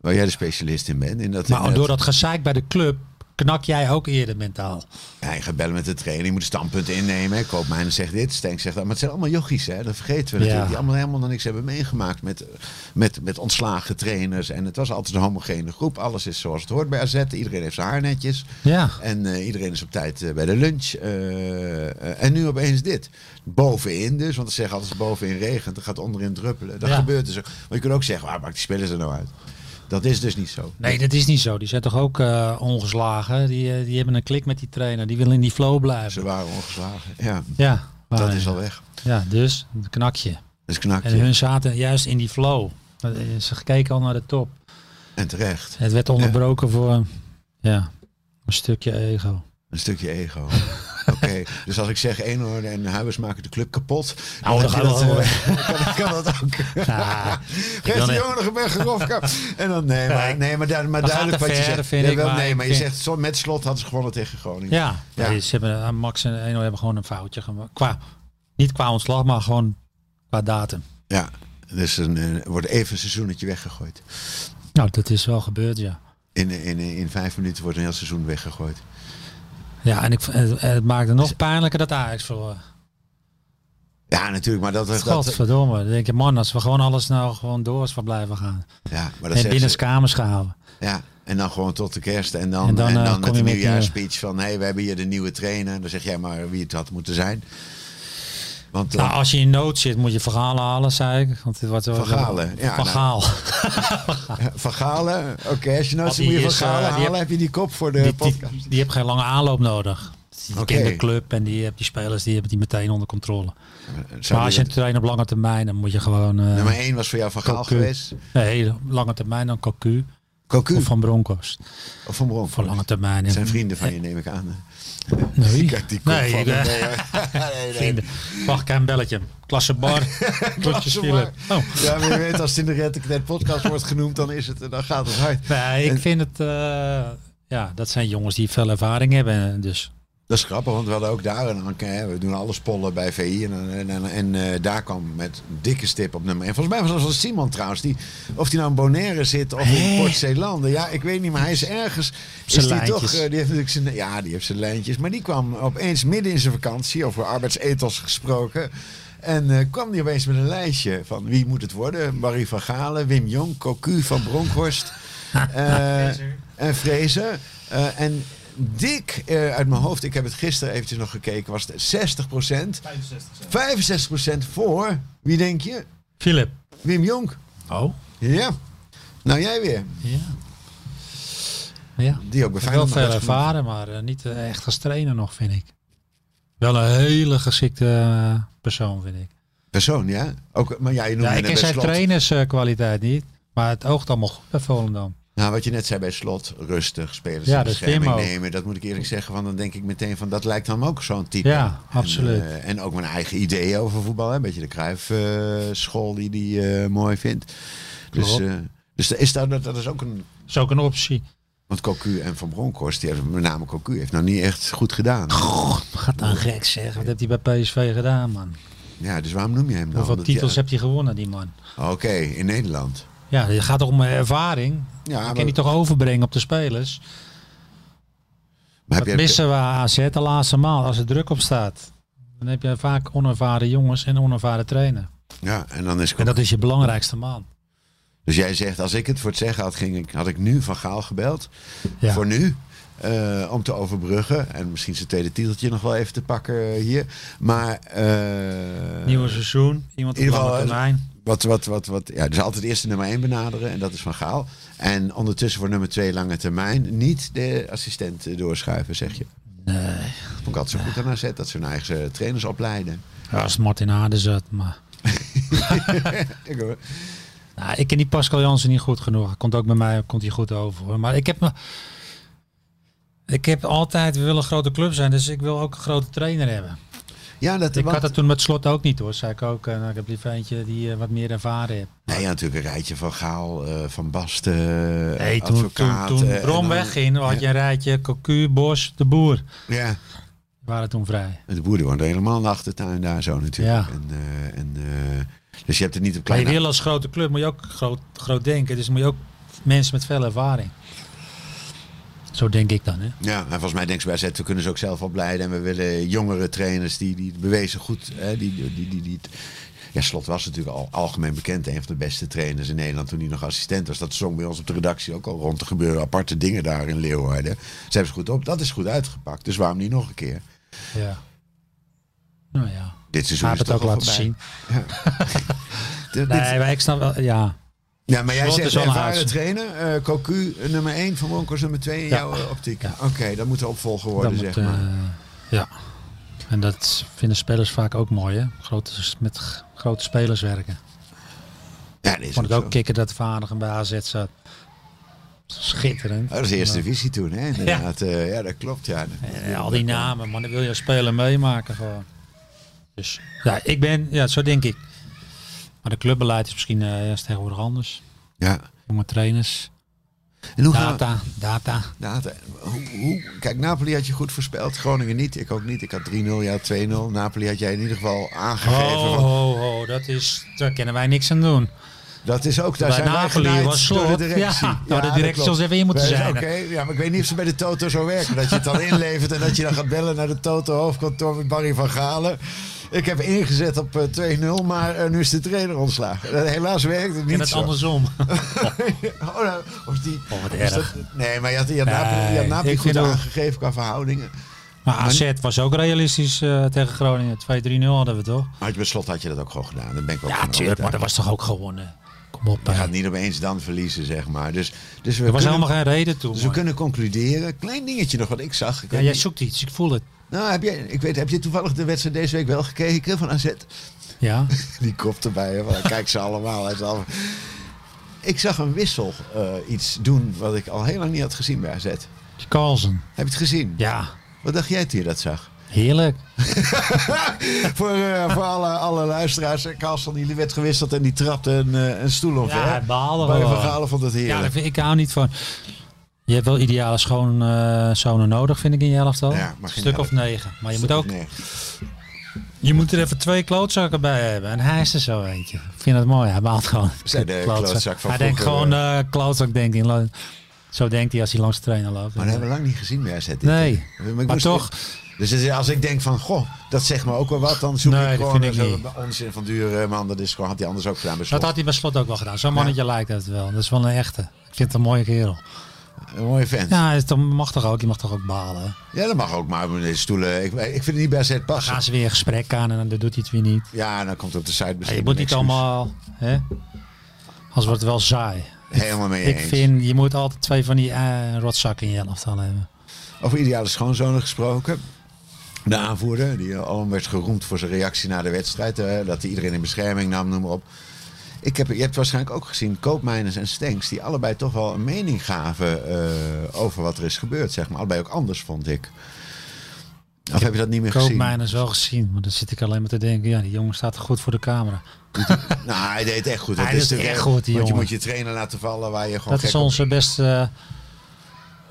Speaker 3: waar jij de specialist in bent. In dat in
Speaker 4: Maar
Speaker 3: dat-
Speaker 4: door dat gezeik bij de club knak jij ook eerder mentaal.
Speaker 3: Ja, je gaat bellen met de trainer, je moet de standpunten innemen. Koopmijn zegt dit, Stenk zegt dat. Maar het zijn allemaal jochies, hè? dat vergeten we natuurlijk. Die allemaal helemaal nog niks hebben meegemaakt met, met, met ontslagen trainers. En het was altijd een homogene groep. Alles is zoals het hoort bij AZ. Iedereen heeft zijn haar netjes.
Speaker 4: Ja.
Speaker 3: En eh, iedereen is op tijd eh, bij de lunch. Eh, eh, en nu opeens dit. Bovenin dus, want ze zeggen altijd als het bovenin regent, dan gaat het onderin druppelen. Dat
Speaker 4: Ja.
Speaker 3: gebeurt dus ook. Maar je kunt ook zeggen, waar maakt die spelers er nou uit? Dat is dus niet zo.
Speaker 4: Nee, dat is niet zo. Die zijn toch ook eh, ongeslagen. Die, eh, die hebben een klik met die trainer. Die willen in die flow
Speaker 3: Ze
Speaker 4: blijven.
Speaker 3: waren ongeslagen. Ja,
Speaker 4: Ja,
Speaker 3: dat
Speaker 4: maar-
Speaker 3: is al weg.
Speaker 4: Ja, dus een knakje.
Speaker 3: Dat is knakje.
Speaker 4: En hun zaten juist in die flow. Eh, Ze keken al naar de top.
Speaker 3: En terecht.
Speaker 4: Het werd onderbroken voor ja, een stukje ego.
Speaker 3: Een stukje ego. Oké, dus als ik zeg Eenhoorn en Huibers maken de club kapot. dan
Speaker 4: Oh,
Speaker 3: heb
Speaker 4: dan
Speaker 3: je
Speaker 4: gaan we
Speaker 3: dat, eh, kan, kan dat ook.
Speaker 4: Ja,
Speaker 3: Geef
Speaker 4: dan-
Speaker 3: de jongen nog een berg Grofka. En dan, nee, maar, nee, maar, daar- maar
Speaker 4: Dat
Speaker 3: duidelijk
Speaker 4: gaat
Speaker 3: wat
Speaker 4: te
Speaker 3: je
Speaker 4: ver,
Speaker 3: zegt.
Speaker 4: vind
Speaker 3: Ja,
Speaker 4: ik,
Speaker 3: wel,
Speaker 4: maar
Speaker 3: nee,
Speaker 4: ik
Speaker 3: maar je
Speaker 4: vind-
Speaker 3: zegt, zo, met slot hadden ze gewonnen tegen Groningen.
Speaker 4: ja.
Speaker 3: Ja.
Speaker 4: eh, Nee, ze hebben, Max en Eno hebben gewoon een foutje gemaakt. Qua, niet qua ontslag, maar gewoon Qua datum.
Speaker 3: Ja, dus een, eh, wordt even een seizoenetje weggegooid.
Speaker 4: Nou, dat is wel gebeurd, ja.
Speaker 3: In, in, in vijf minuten wordt een heel seizoen weggegooid.
Speaker 4: Ja, en ik, v- het, het maakte nog pijnlijker dat Ajax verloor.
Speaker 3: Ja, natuurlijk, maar dat... dat, dat
Speaker 4: Godverdomme. Dan denk je, man, als we gewoon alles nou gewoon door als we blijven gaan.
Speaker 3: ja, maar dat
Speaker 4: En
Speaker 3: zeggen
Speaker 4: binnen
Speaker 3: ze-
Speaker 4: kamers gehouden.
Speaker 3: Ja, en dan gewoon tot de kerst. En dan, en
Speaker 4: En
Speaker 3: dan,
Speaker 4: dan, eh, kom
Speaker 3: met
Speaker 4: je
Speaker 3: de
Speaker 4: met je-
Speaker 3: nieuwjaarspeech van... hé, hey, we hebben hier de nieuwe trainer. Dan zeg jij maar wie het had moeten zijn. Want eh,
Speaker 4: Nou, als je in nood zit, moet je verhalen halen, zei ik. Want het wordt wel-
Speaker 3: Van Galen, ja,
Speaker 4: Van
Speaker 3: nou.
Speaker 4: Gaal.
Speaker 3: Van Galen, oké, als je nou
Speaker 4: Want
Speaker 3: zo moet je
Speaker 4: die
Speaker 3: Van
Speaker 4: is,
Speaker 3: Galen
Speaker 4: eh, die
Speaker 3: halen, heb
Speaker 4: heb-
Speaker 3: je die kop voor de
Speaker 4: die,
Speaker 3: podcast.
Speaker 4: die, die heeft geen lange aanloop nodig. Die
Speaker 3: Oké.
Speaker 4: kent de club en die, hebt die spelers die hebben die meteen onder controle.
Speaker 3: Zou
Speaker 4: maar als je
Speaker 3: die
Speaker 4: een
Speaker 3: dat-
Speaker 4: trainer op lange termijn, dan moet je gewoon... eh,
Speaker 3: Nummer 1 was voor jou Van Gaal
Speaker 4: Cocu.
Speaker 3: geweest.
Speaker 4: Nee, lange termijn dan Cocu
Speaker 3: Cocu
Speaker 4: of Van Bronckhorst.
Speaker 3: of Van Bron.
Speaker 4: Voor lange termijn.
Speaker 3: Dat zijn vrienden van je, neem ik aan.
Speaker 4: Nee,
Speaker 3: Kijk, die kop
Speaker 4: nee,
Speaker 3: van
Speaker 4: ik,
Speaker 3: hem.
Speaker 4: eh,
Speaker 3: Nee, hoor. Nee, nee.
Speaker 4: vrienden. Wacht, ik heb een belletje. Klasse bar. Klasse
Speaker 3: bar.
Speaker 4: Oh.
Speaker 3: Ja, maar je weet, als het in de Red Dead podcast wordt genoemd, dan, is het, dan gaat het hard.
Speaker 4: Nee,
Speaker 3: En-
Speaker 4: ik vind het... eh, ja, dat zijn jongens die veel ervaring hebben. eh, Dus
Speaker 3: Dat is grappig, want we hadden ook daar een anker, hè. We doen alle spollen bij VI. En, en, en, en, eh, daar kwam met dikke stip op nummer 1. Volgens mij was dat Simon trouwens. Die, of die nou in Bonaire zit of in Port Zeelanden. Ja, ik weet niet, maar hij is ergens. Is
Speaker 4: Zijn
Speaker 3: die, toch,
Speaker 4: lijntjes.
Speaker 3: eh, die heeft natuurlijk zijn, ja, die heeft zijn lijntjes. Maar die kwam opeens midden in zijn vakantie, over arbeidsethos gesproken. En eh, kwam die opeens met een lijstje van wie moet het worden? Barry van Galen, Wim Jong, Cocu van Bronkhorst. eh, en Fraser. Eh, en dik eh, uit mijn hoofd, ik heb het gisteren eventjes nog gekeken, was het 60%.
Speaker 5: 65 cent.
Speaker 3: 65% voor, wie denk je?
Speaker 4: Philip.
Speaker 3: Wim Jonk.
Speaker 4: Oh,
Speaker 3: Ja. Nou, jij weer.
Speaker 4: ja. Ja.
Speaker 3: Die ook bij
Speaker 4: Wel
Speaker 3: Feyenoord nog
Speaker 4: veel
Speaker 3: heeft gemaakt.
Speaker 4: ervaren, maar eh, niet eh, echt gestrainer nog, vind ik. Wel een hele geschikte eh, persoon, vind ik.
Speaker 3: Persoon, ja. Ook, maar jij noemde
Speaker 4: Ja, ik
Speaker 3: net
Speaker 4: ken
Speaker 3: bij
Speaker 4: zijn
Speaker 3: slot.
Speaker 4: trainerskwaliteit niet, maar het oogt allemaal goed bij Volendam.
Speaker 3: Nou, wat je net zei bij slot, rustig, spelers in
Speaker 4: Ja, dat is
Speaker 3: bescherming
Speaker 4: Wim ook.
Speaker 3: nemen. Dat moet ik eerlijk zeggen, want dan denk ik meteen van, dat lijkt hem ook zo'n type.
Speaker 4: Ja, absoluut.
Speaker 3: En, eh, en ook mijn eigen ideeën over voetbal. Hè? Een beetje de Cruijff-school die die hij mooi vindt. Dus,
Speaker 4: Klopt.
Speaker 3: eh, dus da- is daar, dat, dat is ook een...
Speaker 4: Dat is ook een optie.
Speaker 3: Want Cocu en Van Bronckhorst, die hebben, met name Cocu, heeft nou niet echt goed gedaan.
Speaker 4: Gaat dan gek zeg, wat heeft hij bij PSV gedaan, man?
Speaker 3: Ja, dus waarom noem je hem dan?
Speaker 4: Hoeveel
Speaker 3: Dat-
Speaker 4: titels
Speaker 3: ja.
Speaker 4: heeft hij gewonnen, die man?
Speaker 3: Oké, in Nederland.
Speaker 4: Ja, het gaat toch om eh, ervaring.
Speaker 3: Ja,
Speaker 4: Dat
Speaker 3: maar,
Speaker 4: kan hij toch overbrengen op de spelers?
Speaker 3: maar heb
Speaker 4: Dat
Speaker 3: je-
Speaker 4: missen we aan AZ de laatste maal, als er druk op staat. Dan heb je vaak onervaren jongens en onervaren trainer.
Speaker 3: Ja, en dan is
Speaker 4: En dat is je belangrijkste man.
Speaker 3: Dus jij zegt, als ik het voor het zeggen had, ging ik, had ik nu Van Gaal gebeld.
Speaker 4: Ja.
Speaker 3: Voor nu. eh, om te overbruggen. En misschien zijn tweede titeltje nog wel even te pakken eh, hier. Maar eh,
Speaker 4: Nieuwe seizoen, iemand
Speaker 3: in ieder
Speaker 4: op lange
Speaker 3: geval, eh,
Speaker 4: termijn.
Speaker 3: wat, wat, wat, wat, ja, dus altijd eerst de nummer 1 benaderen. En dat is Van Gaal. En ondertussen voor nummer 2 lange termijn niet de assistent eh, doorschuiven, zeg je.
Speaker 4: Nee,
Speaker 3: Vond ik altijd zo goed aan AZ dat ze hun eigen eh, trainers opleiden.
Speaker 4: als Martin Aarde zat, maar...
Speaker 3: Ik hoor.
Speaker 4: Nou, ik ken die Pascal Jansen niet goed genoeg. Hij Komt ook bij mij komt hij goed over. hoor. Maar ik heb me. Ik heb altijd, we willen een grote club zijn, dus ik wil ook een grote trainer hebben.
Speaker 3: Ja, dat,
Speaker 4: Ik
Speaker 3: want-
Speaker 4: had dat toen met slot ook niet hoor, zei ik ook. eh, nou, ik heb liever eentje die eh, wat meer ervaren heeft.
Speaker 3: Nee, ja, natuurlijk een rijtje van Gaal, eh, Van Basten,
Speaker 4: Nee, toen,
Speaker 3: advocaat.
Speaker 4: toen, toen
Speaker 3: eh, en dan-
Speaker 4: Brom wegging, had je een rijtje Cocu, Bos, De Boer.
Speaker 3: Ja,
Speaker 4: Die waren toen vrij.
Speaker 3: de boer die woont helemaal in de achtertuin daar zo natuurlijk.
Speaker 4: Ja.
Speaker 3: En, eh, en, eh, dus je hebt het niet op
Speaker 4: Maar je
Speaker 3: kleine...
Speaker 4: wil als grote club, moet je ook groot, groot denken. Dus moet je ook mensen met veel ervaring. Zo denk ik dan, hè.
Speaker 3: Ja, en volgens mij denken ze bij zet, we kunnen ze ook zelf opleiden. En we willen jongere trainers die, die het bewezen goed... Hè, die, die, die, die, die het- ja, Slot was natuurlijk al algemeen bekend. Een van de beste trainers in Nederland toen hij nog assistent was. Dat zong bij ons op de redactie ook al rond. Er gebeuren aparte dingen daar in Leeuwarden. Ze hebben ze goed op. Dat is goed uitgepakt. Dus waarom niet nog een keer?
Speaker 4: Ja. Nou ja.
Speaker 3: Dit seizoen is
Speaker 4: Hij heeft het
Speaker 3: toch
Speaker 4: ook
Speaker 3: al
Speaker 4: laten
Speaker 3: voorbij.
Speaker 4: zien.
Speaker 3: Dit- dit-
Speaker 4: Nee, maar ik snap wel, ja.
Speaker 3: Ja, maar jij
Speaker 4: Slot
Speaker 3: zegt
Speaker 4: is wel een
Speaker 3: ervaren
Speaker 4: huis.
Speaker 3: trainer. eh Cocu eh, nummer 1, Van Bronckhorst nummer 2 in
Speaker 4: Ja.
Speaker 3: jouw eh, optiek.
Speaker 4: Ja.
Speaker 3: Oké, dat moet de opvolger worden,
Speaker 4: Dat moet,
Speaker 3: zeg maar.
Speaker 4: eh, ja. En dat vinden spelers vaak ook mooi, hè? Grote, met g- grote spelers werken.
Speaker 3: ja, dat is
Speaker 4: Vond ik ook
Speaker 3: zo.
Speaker 4: kicken dat Vaardigen bij AZ zat. Schitterend.
Speaker 3: Oh, dat is de eerste divisie toen, hè? Inderdaad. eh, Ja, dat klopt, ja.
Speaker 4: Ja, al die namen, man. Dan wil je als speler meemaken gewoon. Dus ja, ik ben, ja, zo denk ik. Maar de clubbeleid is misschien eh, is tegenwoordig anders.
Speaker 3: Ja.
Speaker 4: Jonge trainers.
Speaker 3: En hoe gaan we-
Speaker 4: Data, data.
Speaker 3: Data. Hoe, hoe- Kijk, Napoli had je goed voorspeld. Groningen niet. Ik ook niet. Ik had 3-0, ja 2-0. Napoli had jij in ieder geval aangegeven.
Speaker 4: Oh,
Speaker 3: van-
Speaker 4: oh, oh, dat is, daar kunnen wij niks aan doen.
Speaker 3: dat is ook, daar
Speaker 4: Bij
Speaker 3: zijn wij
Speaker 4: Napoli
Speaker 3: genaaid
Speaker 4: was
Speaker 3: door de
Speaker 4: slot.
Speaker 3: directie.
Speaker 4: Ja, nou, de
Speaker 3: dat
Speaker 4: directie
Speaker 3: klopt.
Speaker 4: zal ze even in moeten
Speaker 3: Wij-
Speaker 4: zijn.
Speaker 3: Oké, ja, maar ik weet niet of ze bij de Toto zo werken. Dat je het dan inlevert en dat je dan gaat bellen naar de Toto hoofdkantoor met Barry van Galen. Ik heb ingezet op eh, 2-0, maar eh, nu is de trainer ontslagen. Eh, helaas werkt het niet
Speaker 4: En dat
Speaker 3: zo.
Speaker 4: andersom.
Speaker 3: Oh, nou, of die,
Speaker 4: Oh, wat
Speaker 3: is
Speaker 4: erg.
Speaker 3: dat- nee, maar je had, je had Napoli, je had
Speaker 4: Nee,
Speaker 3: Napoli
Speaker 4: ik
Speaker 3: goed
Speaker 4: vind ook-
Speaker 3: aangegeven qua verhoudingen.
Speaker 4: Maar AZ was ook realistisch eh, tegen Groningen. 2-3-0 hadden we toch?
Speaker 3: Had je bij slot had je dat ook gewoon gedaan. Daar ben ik ook
Speaker 4: Ja,
Speaker 3: van
Speaker 4: tuurlijk, maar dat
Speaker 3: overtuigd.
Speaker 4: was toch ook gewonnen. Kom op,
Speaker 3: Je
Speaker 4: hè.
Speaker 3: gaat niet opeens dan verliezen, zeg maar. Dus, dus we
Speaker 4: er was
Speaker 3: kunnen,
Speaker 4: helemaal geen reden toe.
Speaker 3: dus we
Speaker 4: man.
Speaker 3: kunnen concluderen. Klein dingetje nog wat ik zag. Ik
Speaker 4: Ja,
Speaker 3: weet
Speaker 4: jij
Speaker 3: niet-
Speaker 4: zoekt iets, ik voel het.
Speaker 3: nou, heb, jij, ik weet, heb je toevallig de wedstrijd deze week wel gekeken van AZ?
Speaker 4: Ja.
Speaker 3: Die kop erbij. hè, van, Kijk ze allemaal. Hij is allemaal- Ik zag een wissel eh, iets doen wat ik al heel lang niet had gezien bij AZ. Heb
Speaker 4: Carlsen.
Speaker 3: je het gezien?
Speaker 4: Ja,
Speaker 3: Wat dacht jij toen je dat zag?
Speaker 4: heerlijk.
Speaker 3: voor eh, voor alle, alle luisteraars. eh, Carlsen die werd gewisseld en die trapte een, eh, een stoel omver.
Speaker 4: Ja, hij baalde
Speaker 3: Barry van
Speaker 4: gewoon.
Speaker 3: Galen vond het
Speaker 4: Ja,
Speaker 3: heerlijk.
Speaker 4: dat vind ik ik hou niet van. Je hebt wel ideale schoonzonen nodig, vind ik, in je elftal.
Speaker 3: Ja, maar
Speaker 4: Een
Speaker 3: geen
Speaker 4: stuk
Speaker 3: elf.
Speaker 4: of negen. Maar je moet, ook,
Speaker 3: Nee.
Speaker 4: je moet er even twee klootzakken bij hebben. En hij is er zo eentje. Ik vind het mooi. Hij baalt gewoon.
Speaker 3: Zei de klootzak van
Speaker 4: Hij denkt
Speaker 3: vroeger,
Speaker 4: gewoon eh, klootzak. Denkt hij. Lo- Zo denkt hij als hij langs de trainer loopt.
Speaker 3: Maar dat hebben we lang niet gezien bij AZ. dit.
Speaker 4: Nee,
Speaker 3: Maar, ik
Speaker 4: maar
Speaker 3: moest-
Speaker 4: toch.
Speaker 3: Dus het is- als ik denk van, goh, dat zegt me ook wel wat, dan zoek
Speaker 4: Nee,
Speaker 3: ik
Speaker 4: dat
Speaker 3: gewoon
Speaker 4: vind ik
Speaker 3: zo
Speaker 4: niet.
Speaker 3: onzin van duur. eh, Man, dat is gewoon, had hij anders ook gedaan bij
Speaker 4: Dat
Speaker 3: slot.
Speaker 4: had hij bij slot ook wel gedaan. Zo'n mannetje lijkt het wel. Dat is wel een echte. Ik vind het een mooie kerel.
Speaker 3: Een mooie vent. Ja.
Speaker 4: Ja, hij is toch, mag toch ook. Die mag toch ook balen. hè?
Speaker 3: dat mag ook, maar de stoelen, ik, ik vind het niet bij AZ passen.
Speaker 4: Gaan ze weer een gesprek aan en dan doet hij het weer niet.
Speaker 3: Ja, dan komt het op de site
Speaker 4: Ja,
Speaker 3: misschien
Speaker 4: je moet
Speaker 3: een
Speaker 4: niet
Speaker 3: excuus.
Speaker 4: allemaal. Hè? Als wordt het wel saai.
Speaker 3: Helemaal mee
Speaker 4: Ik
Speaker 3: eens.
Speaker 4: vind, je moet altijd twee van die eh, rotzakken in je elftal hebben.
Speaker 3: Over ideale schoonzonen gesproken. De aanvoerder, die al werd geroemd voor zijn reactie na de wedstrijd. eh, dat hij iedereen in bescherming nam, noem maar op. Ik heb, je hebt waarschijnlijk ook gezien Koopmijners en Stenks... die allebei toch wel een mening gaven eh, over wat er is gebeurd. Zeg maar. Allebei ook anders, vond ik. Of heb je dat niet meer gezien?
Speaker 4: Koopmijners wel gezien, maar dan zit ik alleen maar te denken, ja, die jongen staat goed voor de camera.
Speaker 3: Oh, Nou, hij deed het echt goed. Dat
Speaker 4: Hij
Speaker 3: is
Speaker 4: doet het
Speaker 3: natuurlijk-
Speaker 4: echt goed, die
Speaker 3: want
Speaker 4: jongen.
Speaker 3: je moet je trainer laten vallen waar je gewoon
Speaker 4: Dat
Speaker 3: gek
Speaker 4: is
Speaker 3: op-
Speaker 4: onze beste,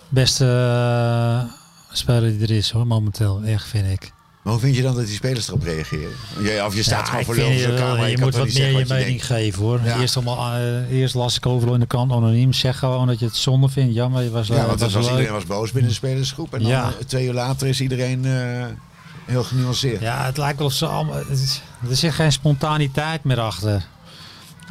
Speaker 4: beste eh, speler die er is hoor, momenteel. Echt vind ik.
Speaker 3: Maar hoe vind je dan dat die spelers erop reageren? Je- Of je staat gewoon
Speaker 4: ik
Speaker 3: voor
Speaker 4: vind
Speaker 3: lul in zo'n
Speaker 4: wel,
Speaker 3: kamer.
Speaker 4: je
Speaker 3: kan
Speaker 4: moet
Speaker 3: toch
Speaker 4: wat
Speaker 3: niet
Speaker 4: meer
Speaker 3: zeggen
Speaker 4: je
Speaker 3: wat je
Speaker 4: mening
Speaker 3: denkt?
Speaker 4: geven hoor.
Speaker 3: Ja.
Speaker 4: Eerst, allemaal, eh, eerst las ik overal in de krant anoniem. Zeg gewoon dat je het zonde vindt. Jammer, je was, eh,
Speaker 3: Ja, want
Speaker 4: was
Speaker 3: dat was,
Speaker 4: leuk.
Speaker 3: iedereen was boos binnen de spelersgroep. En dan
Speaker 4: Ja.
Speaker 3: eh, twee uur later is iedereen eh, heel genuanceerd.
Speaker 4: Ja, het lijkt wel of ze allemaal. het is- Er zit geen spontaniteit meer achter.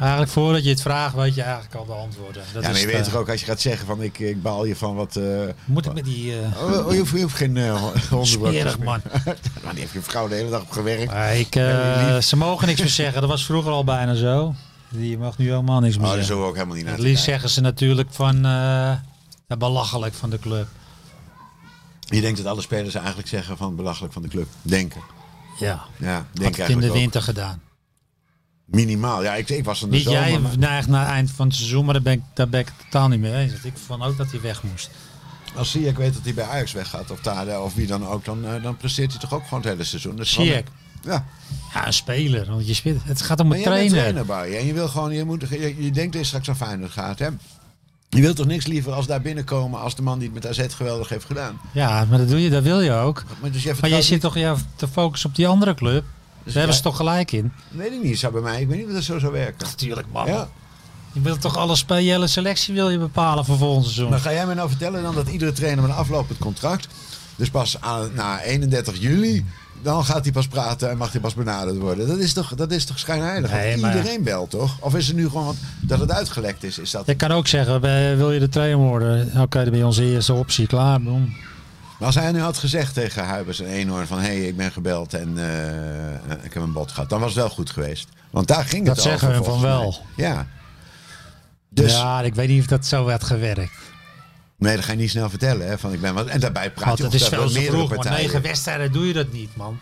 Speaker 4: Eigenlijk voordat je het vraagt, weet je eigenlijk al de antwoorden. Dat
Speaker 3: Ja,
Speaker 4: is
Speaker 3: maar je
Speaker 4: het,
Speaker 3: weet
Speaker 4: eh,
Speaker 3: toch ook als je gaat zeggen van ik, ik baal je van wat... eh,
Speaker 4: Moet ik met die. eh
Speaker 3: oh, oh, je, hoeft, je hoeft geen eh, hondenbroek.
Speaker 4: smerig man.
Speaker 3: Maar die heeft je vrouw de hele dag op gewerkt.
Speaker 4: Maar ik, eh,
Speaker 3: Ja, lief.
Speaker 4: ze mogen niks meer zeggen. Dat was vroeger al bijna zo. Je mag nu helemaal niks meer
Speaker 3: Oh, daar
Speaker 4: zeggen.
Speaker 3: zullen we ook helemaal niet naar
Speaker 4: Het
Speaker 3: te
Speaker 4: liefst
Speaker 3: kijken.
Speaker 4: zeggen ze natuurlijk van. eh, ja, belachelijk van de club.
Speaker 3: Je denkt dat alle spelers eigenlijk zeggen van belachelijk van de club. Denken.
Speaker 4: Ja.
Speaker 3: Ja, denk
Speaker 4: Had ik in de
Speaker 3: eigenlijk ook.
Speaker 4: winter gedaan.
Speaker 3: Minimaal. Ja, ik, ik was in de
Speaker 4: Niet
Speaker 3: zomer.
Speaker 4: jij
Speaker 3: maar
Speaker 4: neigt naar het eind van het seizoen, maar daar ben ik, daar ben ik het totaal niet mee eens. Want ik vond ook dat hij weg moest.
Speaker 3: Als zie ik weet dat hij bij Ajax weggaat of Tade of wie dan ook, dan, eh, dan presteert hij toch ook gewoon het hele seizoen. Dus
Speaker 4: Zie ik.
Speaker 3: Ja,
Speaker 4: Ja, een speler. Want je speelt, het gaat om
Speaker 3: Maar
Speaker 4: een
Speaker 3: jij bent
Speaker 4: trainer.
Speaker 3: trainer, Barry. En je wil gewoon, je, moet, je, je denkt dat je straks aan Feyenoord gaat, hè? Je wilt toch niks liever als daar binnenkomen als de man die het met AZ geweldig heeft gedaan.
Speaker 4: Ja, maar dat doe je, dat wil je ook.
Speaker 3: Maar, dus jij
Speaker 4: Maar je
Speaker 3: vertrouwt
Speaker 4: zit toch ja, te focussen op die andere club. Daar hebben
Speaker 3: Dus ja.
Speaker 4: ze toch gelijk in.
Speaker 3: niet- Weet ik niet, zou bij mij. Ik weet niet of dat zo zou werken.
Speaker 4: Natuurlijk man.
Speaker 3: Ja?
Speaker 4: Je wilt toch alle spe- je hele selectie wil je bepalen voor volgend seizoen.
Speaker 3: Maar ga jij mij nou vertellen dan dat iedere trainer met een aflopend contract, dus pas aan, na 31 juli, dan gaat hij pas praten en mag hij pas benaderd worden. Dat is toch, dat is toch schijnheilig? Want
Speaker 4: Nee, maar-
Speaker 3: Iedereen belt toch? Of is het nu gewoon dat het uitgelekt is? Is dat...
Speaker 4: Je kan ook zeggen, eh, wil je de trainer worden? Oké, dan ben je onze eerste optie. Klaar, boem.
Speaker 3: Maar als hij nu had gezegd tegen Huibers en Eenhoorn van... hé, hey, ik ben gebeld en eh, ik heb een bod gehad. Dan was het wel goed geweest. Want daar ging
Speaker 4: Dat
Speaker 3: het
Speaker 4: zeggen
Speaker 3: over,
Speaker 4: we van
Speaker 3: volgens
Speaker 4: wel.
Speaker 3: mij. Ja. Dus,
Speaker 4: Ja, ik weet niet of dat zo werd gewerkt.
Speaker 3: nee, dat ga je niet snel vertellen. Hè, van, ik ben wat... En daarbij praat
Speaker 4: Want
Speaker 3: je
Speaker 4: het is
Speaker 3: over
Speaker 4: veel te
Speaker 3: meerdere
Speaker 4: vroeg. Maar
Speaker 3: partijen.
Speaker 4: negen wedstrijden doe je dat niet, man.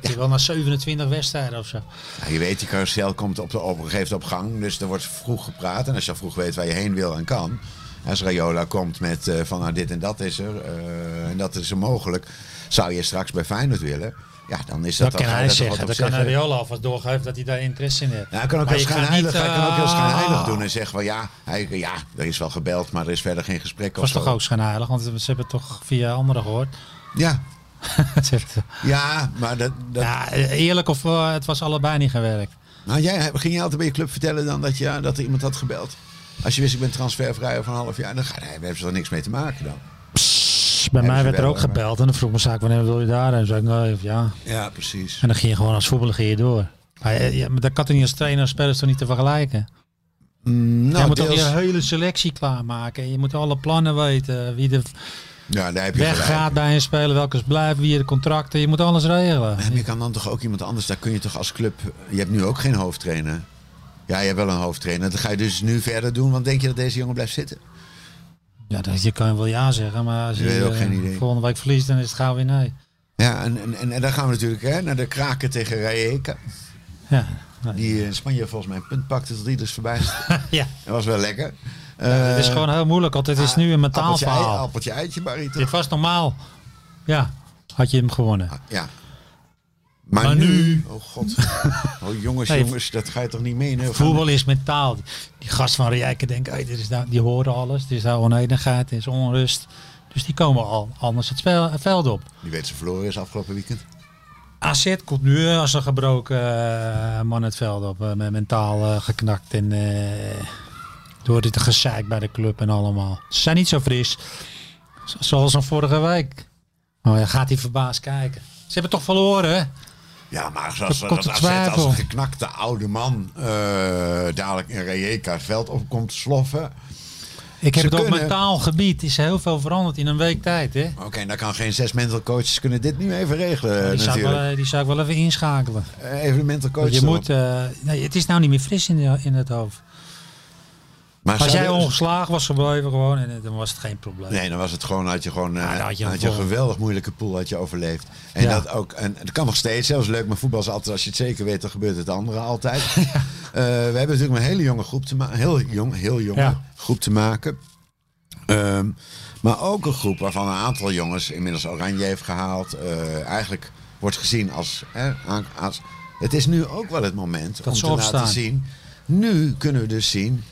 Speaker 4: Je wil naar 27 wedstrijden of zo.
Speaker 3: Ja, je weet, die carousel komt op, de, op een gegeven moment op gang. Dus er wordt vroeg gepraat. En als je al vroeg weet waar je heen wil en kan. Als Rayola komt met eh, van nou, dit en dat is er. eh, en dat is er mogelijk. Zou je straks bij Feyenoord willen. Ja, dan is dat,
Speaker 4: Dat, kan
Speaker 3: dan ga je
Speaker 4: hij
Speaker 3: toch
Speaker 4: zeggen.
Speaker 3: wat
Speaker 4: Dat
Speaker 3: op
Speaker 4: kan Ariola alvast doorgeven dat hij daar interesse in heeft.
Speaker 3: Ja, hij kan ook
Speaker 4: Maar
Speaker 3: heel
Speaker 4: je gaat
Speaker 3: schijnheilig,
Speaker 4: niet,
Speaker 3: hij kan ook heel
Speaker 4: eh,
Speaker 3: schijnheilig doen en zeggen van ja, hij, ja, er is wel gebeld, maar er is verder geen gesprek
Speaker 4: was
Speaker 3: of
Speaker 4: toch
Speaker 3: zo.
Speaker 4: ook schijnheilig, want ze hebben het toch via anderen gehoord.
Speaker 3: Ja,
Speaker 4: Ze hebben-
Speaker 3: ja, maar dat, dat,
Speaker 4: ja, eerlijk of eh, het was allebei niet gewerkt.
Speaker 3: Nou, jij, ging je altijd bij je club vertellen dan dat, je, ja, dat er iemand had gebeld? Als je wist, ik ben transfervrij over een half jaar, dan ga, nee, daar hebben ze er niks mee te maken dan.
Speaker 4: Bij mij
Speaker 3: ze
Speaker 4: werd er
Speaker 3: wel,
Speaker 4: ook
Speaker 3: maar-
Speaker 4: gebeld en dan vroeg mijn zaak wanneer wil je daar? En dan zei ik nee of ja.
Speaker 3: Ja, precies.
Speaker 4: En dan ging je gewoon als voetballer ging je door. Maar, eh, ja, maar dat kan toch niet als trainer en speler toch niet te vergelijken?
Speaker 3: Nou,
Speaker 4: je moet toch
Speaker 3: deels-
Speaker 4: je hele selectie klaarmaken. Je moet alle plannen weten. Wie er
Speaker 3: ja, daar heb je gelijk.
Speaker 4: weggaat bij een speler, welke blijven, wie de contracten. Je moet alles regelen.
Speaker 3: Maar je kan dan toch ook iemand anders, daar kun je toch als club... Je hebt nu ook geen hoofdtrainer. Ja, je hebt wel een hoofdtrainer. Dat ga je dus nu verder doen, want denk je dat deze jongen blijft zitten?
Speaker 4: Ja, dat, je kan wel ja zeggen, maar als je,
Speaker 3: Ik weet ook
Speaker 4: eh,
Speaker 3: geen idee.
Speaker 4: volgende week verliest, dan is het gauw weer nee.
Speaker 3: Ja, en, en, en, en dan gaan we natuurlijk hè, naar de kraken tegen Rijeka.
Speaker 4: Ja,
Speaker 3: Die in Spanje volgens mij een punt pakte tot ieders voorbij.
Speaker 4: ja.
Speaker 3: Dat was wel lekker. Eh,
Speaker 4: het is gewoon heel moeilijk, want het is nu een mentaal
Speaker 3: ah, appeltje, ei-
Speaker 4: verhaal.
Speaker 3: appeltje eitje, Barry, toch?
Speaker 4: Dit was normaal. Ja, had je hem gewonnen.
Speaker 3: Ja. Maar,
Speaker 4: Maar
Speaker 3: nu...
Speaker 4: nu-
Speaker 3: Oh god. Oh jongens,
Speaker 4: Hey,
Speaker 3: jongens, dat ga je toch niet menen?
Speaker 4: Voetbal is mentaal. Die gast van Rijken denkt, hey, dit is nou, die horen alles. Er is daar oneenigheid, er is onrust. Dus die komen al anders het spel- het veld op.
Speaker 3: Die weet ze verloren is afgelopen weekend.
Speaker 4: AZ komt nu als een gebroken eh, man het veld op. eh, met mentaal eh, geknakt en eh, door dit gezeik bij de club en allemaal. Ze zijn niet zo fris z- zoals van vorige week. Oh ja, gaat hij verbaasd kijken. Ze hebben toch verloren, hè?
Speaker 3: Ja, maar zoals
Speaker 4: Er
Speaker 3: dat,
Speaker 4: komt
Speaker 3: als, het-
Speaker 4: een
Speaker 3: als
Speaker 4: twijfel.
Speaker 3: een geknakte oude man eh, dadelijk in Rijeka het veld opkomt sloffen.
Speaker 4: Ik heb
Speaker 3: Ze
Speaker 4: het Dus op
Speaker 3: kunnen-
Speaker 4: mentaal gebied. Is heel veel veranderd in een week tijd, hè?
Speaker 3: Oké, dan kan geen zes mental coaches kunnen dit nu even regelen
Speaker 4: Die zou, ik wel,
Speaker 3: natuurlijk.
Speaker 4: eh, die zou ik wel even inschakelen.
Speaker 3: Eh, even de mental coach
Speaker 4: Want je
Speaker 3: erop.
Speaker 4: moet, eh, nee, het is nou niet meer fris in, de- in het hoofd.
Speaker 3: maar
Speaker 4: Als
Speaker 3: zou
Speaker 4: jij
Speaker 3: er-
Speaker 4: ongeslagen was gebleven gewoon, en, eh, dan was het geen probleem.
Speaker 3: Nee, dan was het gewoon, had je gewoon eh,
Speaker 4: Ja, dan
Speaker 3: had
Speaker 4: had
Speaker 3: je
Speaker 4: je
Speaker 3: een
Speaker 4: een vol-
Speaker 3: geweldig moeilijke pool had je overleefd. En
Speaker 4: Ja.
Speaker 3: dat ook, en het kan nog steeds, zelfs leuk, maar voetbal is altijd, als je het zeker weet, dan gebeurt het andere altijd. Eh, we hebben natuurlijk een hele jonge groep te maken, heel jong, heel jonge
Speaker 4: Ja.
Speaker 3: groep te maken. Ehm, maar ook een groep waarvan een aantal jongens inmiddels oranje heeft gehaald. eh, eigenlijk wordt gezien als, hè, aan- als- Het is nu ook wel het moment om
Speaker 4: ze
Speaker 3: te
Speaker 4: opstaan.
Speaker 3: laten zien. Nu kunnen we dus zien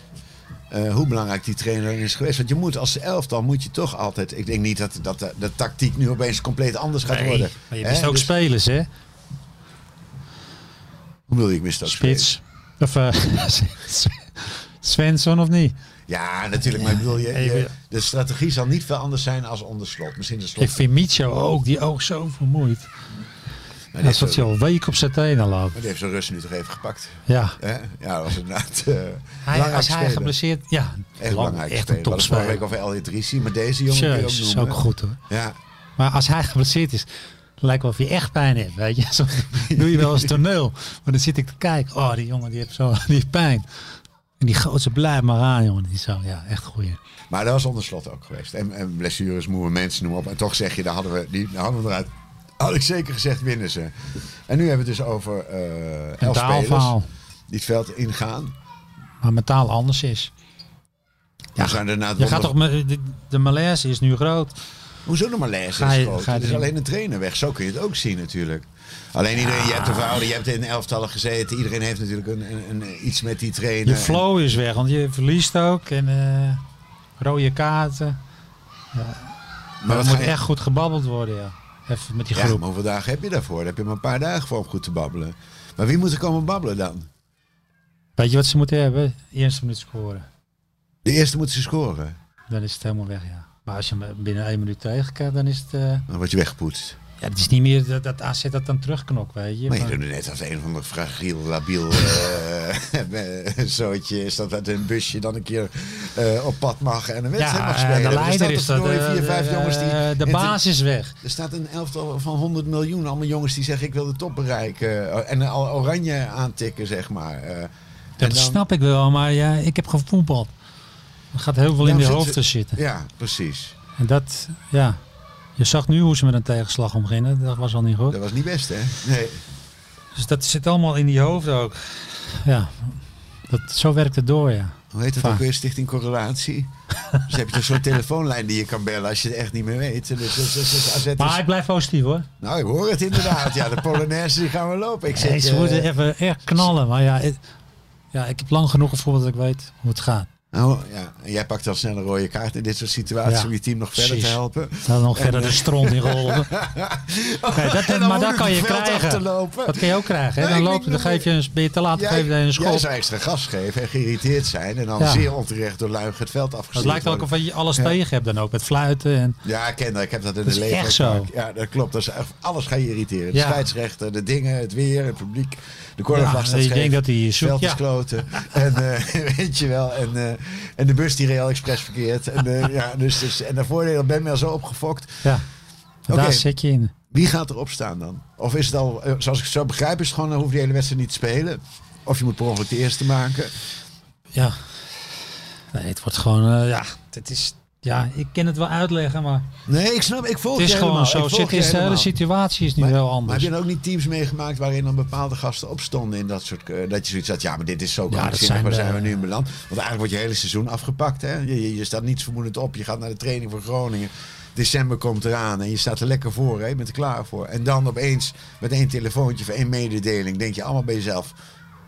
Speaker 3: eh, hoe belangrijk die trainer is geweest. Want je moet als elftal moet je toch altijd. Ik denk niet dat, dat de, de tactiek nu opeens compleet anders gaat
Speaker 4: Nee,
Speaker 3: worden.
Speaker 4: maar je
Speaker 3: Hè?
Speaker 4: mist ook
Speaker 3: Dus-
Speaker 4: spelers, hè?
Speaker 3: Hoe bedoel je, ik mist ook spits?
Speaker 4: Spits. Of eh, Svensson of niet?
Speaker 3: Ja, natuurlijk. Maar ik bedoel, je,
Speaker 4: Ja, je
Speaker 3: je-
Speaker 4: wil-
Speaker 3: de strategie zal niet veel anders zijn als onder slot. Misschien de slot.
Speaker 4: Ik vind Micho ook, die ook zo vermoeid.
Speaker 3: maar die heeft
Speaker 4: Alsof
Speaker 3: zo-
Speaker 4: hij al week op zijn tenen loopt.
Speaker 3: maar die heeft zijn rust nu toch even gepakt.
Speaker 4: Ja.
Speaker 3: Hè? Ja, dat was inderdaad. eh
Speaker 4: Hij,
Speaker 3: belangrijk
Speaker 4: als hij
Speaker 3: speler.
Speaker 4: geblesseerd... Ja,
Speaker 3: Echt
Speaker 4: lang-
Speaker 3: belangrijk.
Speaker 4: echt
Speaker 3: speler. We hadden
Speaker 4: een
Speaker 3: het
Speaker 4: topspeler.
Speaker 3: vorige week over El Idrissi, maar deze jongen kun je ook
Speaker 4: Serieus,
Speaker 3: noemen.
Speaker 4: is ook goed hoor.
Speaker 3: Ja,
Speaker 4: Maar als hij geblesseerd is, lijkt wel of hij echt pijn heeft. Weet je? Soms doe je wel eens toneel. Maar dan zit ik te kijken. Oh, die jongen die heeft, zo, die heeft pijn. En die gozer blijft maar aan, jongen. Die zo, ja, echt goeie.
Speaker 3: Maar dat was onder slot ook geweest. En, en blessures, moe mensen, noem op. En toch zeg je, daar hadden we, die, daar hadden we eruit. Had ik zeker gezegd, winnen ze. En nu hebben we het dus over eh elf
Speaker 4: Mentaal
Speaker 3: spelers
Speaker 4: verhaal.
Speaker 3: die het veld ingaan.
Speaker 4: Maar mentaal anders is.
Speaker 3: Ja, zijn er na het
Speaker 4: Je gaat
Speaker 3: wonder-
Speaker 4: toch, me- de, de malaise is nu groot.
Speaker 3: Hoezo nog maar lezen?
Speaker 4: Ga
Speaker 3: is
Speaker 4: je-
Speaker 3: groot?
Speaker 4: ga je
Speaker 3: Het is
Speaker 4: erin.
Speaker 3: alleen een trainer weg. Zo kun je het ook zien natuurlijk. Alleen iedereen, je hebt de verhouding, je hebt in elftallen gezeten. Iedereen heeft natuurlijk een, een, een- iets met die trainer.
Speaker 4: Je flow is weg, want je verliest ook. En eh, rode kaarten.
Speaker 3: maar
Speaker 4: Maar
Speaker 3: wat
Speaker 4: het moet
Speaker 3: ga je-
Speaker 4: echt goed gebabbeld worden, ja. Even met die
Speaker 3: Ja,
Speaker 4: groep.
Speaker 3: maar hoeveel dagen heb je daarvoor? Daar heb je maar een paar dagen voor om goed te babbelen. Maar wie moet er komen babbelen dan?
Speaker 4: Weet je wat ze moeten hebben? Eerste minuut scoren.
Speaker 3: De eerste moeten ze scoren.
Speaker 4: Dan is het helemaal weg, ja. Maar als je hem binnen één minuut tegenkrijgt, dan is het... eh,
Speaker 3: Dan word je weggepoetst.
Speaker 4: ja, het is niet meer dat, dat AZ dat dan terugknokt, weet je.
Speaker 3: Maar je
Speaker 4: Maar-
Speaker 3: doet het net als een van de fragiel, labiel eh, zootje. Is dat dat een busje dan een keer eh, op pad mag en een wedstrijd mag
Speaker 4: ja,
Speaker 3: spelen.
Speaker 4: eh, de
Speaker 3: Er staat
Speaker 4: leider
Speaker 3: een
Speaker 4: is dat.
Speaker 3: toernooi,
Speaker 4: eh,
Speaker 3: vier, vijf
Speaker 4: de-
Speaker 3: jongens die,
Speaker 4: eh, de
Speaker 3: het-
Speaker 4: baas is weg.
Speaker 3: Er staat een elftal van 100 miljoen. Allemaal jongens die zeggen ik wil de top bereiken. eh, En al oranje aantikken, zeg maar. eh.
Speaker 4: Dat
Speaker 3: dan-
Speaker 4: snap ik wel, maar ja, ik heb gevoetbald. Er gaat heel veel
Speaker 3: Daarom
Speaker 4: in die
Speaker 3: zitten
Speaker 4: hoofden
Speaker 3: ze-
Speaker 4: zitten.
Speaker 3: ja, precies.
Speaker 4: En dat, ja. Je zag nu hoe ze met een tegenslag omgingen. Dat was al niet goed.
Speaker 3: Dat was niet best, hè? Nee.
Speaker 4: Dus dat zit allemaal in die hoofden ook. Ja, dat, zo werkt het door, ja.
Speaker 3: hoe heet dat
Speaker 4: Vaak.
Speaker 3: ook weer, Stichting Correlatie. dus heb je dus zo'n telefoonlijn die je kan bellen als je het echt niet meer weet. Dus, dus, dus, dus AZ is-
Speaker 4: Maar ik blijf positief hoor.
Speaker 3: Nou, ik hoor het inderdaad. Ja, de Polonaise die gaan we lopen. Ik zit,
Speaker 4: Nee, ze
Speaker 3: eh,
Speaker 4: moeten even echt knallen. Maar ja, het- ja, ik heb lang genoeg gevoeld dat ik weet hoe het gaat.
Speaker 3: oh, ja. en Jij pakt al snel een rode kaart in dit soort situaties
Speaker 4: Ja,
Speaker 3: om je team nog verder
Speaker 4: precies.
Speaker 3: te helpen.
Speaker 4: Daar nog verder de stront in geholpen. Nee, dat,
Speaker 3: eh, Oh, En dan
Speaker 4: maar dat
Speaker 3: moeilijk
Speaker 4: kan je
Speaker 3: het veld af te
Speaker 4: krijgen.
Speaker 3: lopen.
Speaker 4: Dat kun je ook krijgen.
Speaker 3: Nee,
Speaker 4: Hè? Dan,
Speaker 3: ik
Speaker 4: loopt,
Speaker 3: denk
Speaker 4: dan
Speaker 3: dat-
Speaker 4: geef je een, ben je te laat, dan geef je een
Speaker 3: jij
Speaker 4: schop.
Speaker 3: zou extra gas geven en geïrriteerd zijn. En dan
Speaker 4: Ja.
Speaker 3: zeer onterecht door Luim het veld afgestuurd
Speaker 4: Het lijkt ook
Speaker 3: worden.
Speaker 4: of je alles tegen hebt dan ook. Met fluiten en...
Speaker 3: Ja, ik ken dat. Ik heb dat in
Speaker 4: Dat
Speaker 3: de
Speaker 4: is
Speaker 3: leger.
Speaker 4: echt zo.
Speaker 3: gemaakt. Ja, dat klopt. Dat is echt- alles ga je irriteren. De
Speaker 4: Ja.
Speaker 3: scheidsrechter, de dingen, het weer, het publiek. De
Speaker 4: Ja,
Speaker 3: cornervlag staat
Speaker 4: ik
Speaker 3: scheef.
Speaker 4: denk dat hij je zoekt,
Speaker 3: Veld is
Speaker 4: ja.
Speaker 3: kloten. En eh, weet je wel. En, eh, en de bus die Real Express verkeert. En, eh, ja, dus, dus, en daarvoor ben je al zo opgefokt.
Speaker 4: Ja, daar
Speaker 3: Oké.
Speaker 4: zit je in.
Speaker 3: Wie gaat erop staan dan? Of is het al, eh, zoals ik het zo begrijp, is het gewoon, dan hoef je de hele wedstrijd niet te spelen. Of je moet per ongeluk de eerste maken.
Speaker 4: Ja. Nee, het wordt gewoon... eh, ja, het is... Ja, ik kan het wel uitleggen, maar...
Speaker 3: Nee, ik snap, ik volg
Speaker 4: Het is
Speaker 3: je
Speaker 4: gewoon
Speaker 3: helemaal. Ik
Speaker 4: zo.
Speaker 3: volg
Speaker 4: Zit,
Speaker 3: je
Speaker 4: is eh, de hele
Speaker 3: helemaal.
Speaker 4: situatie is nu wel
Speaker 3: Maar
Speaker 4: anders.
Speaker 3: heb je dan ook niet teams meegemaakt waarin dan bepaalde gasten opstonden in dat soort... eh, dat je zoiets had, ja, maar dit is zo
Speaker 4: dat
Speaker 3: krankzinnig,
Speaker 4: zijn
Speaker 3: waar
Speaker 4: de-
Speaker 3: zijn we nu in beland? Want eigenlijk wordt je hele seizoen afgepakt, hè? Je, je, je staat niets vermoedend op, je gaat naar de training voor Groningen. December komt eraan en je staat er lekker voor, hè? je bent er klaar voor. En dan opeens met één telefoontje of één mededeling denk je allemaal bij jezelf...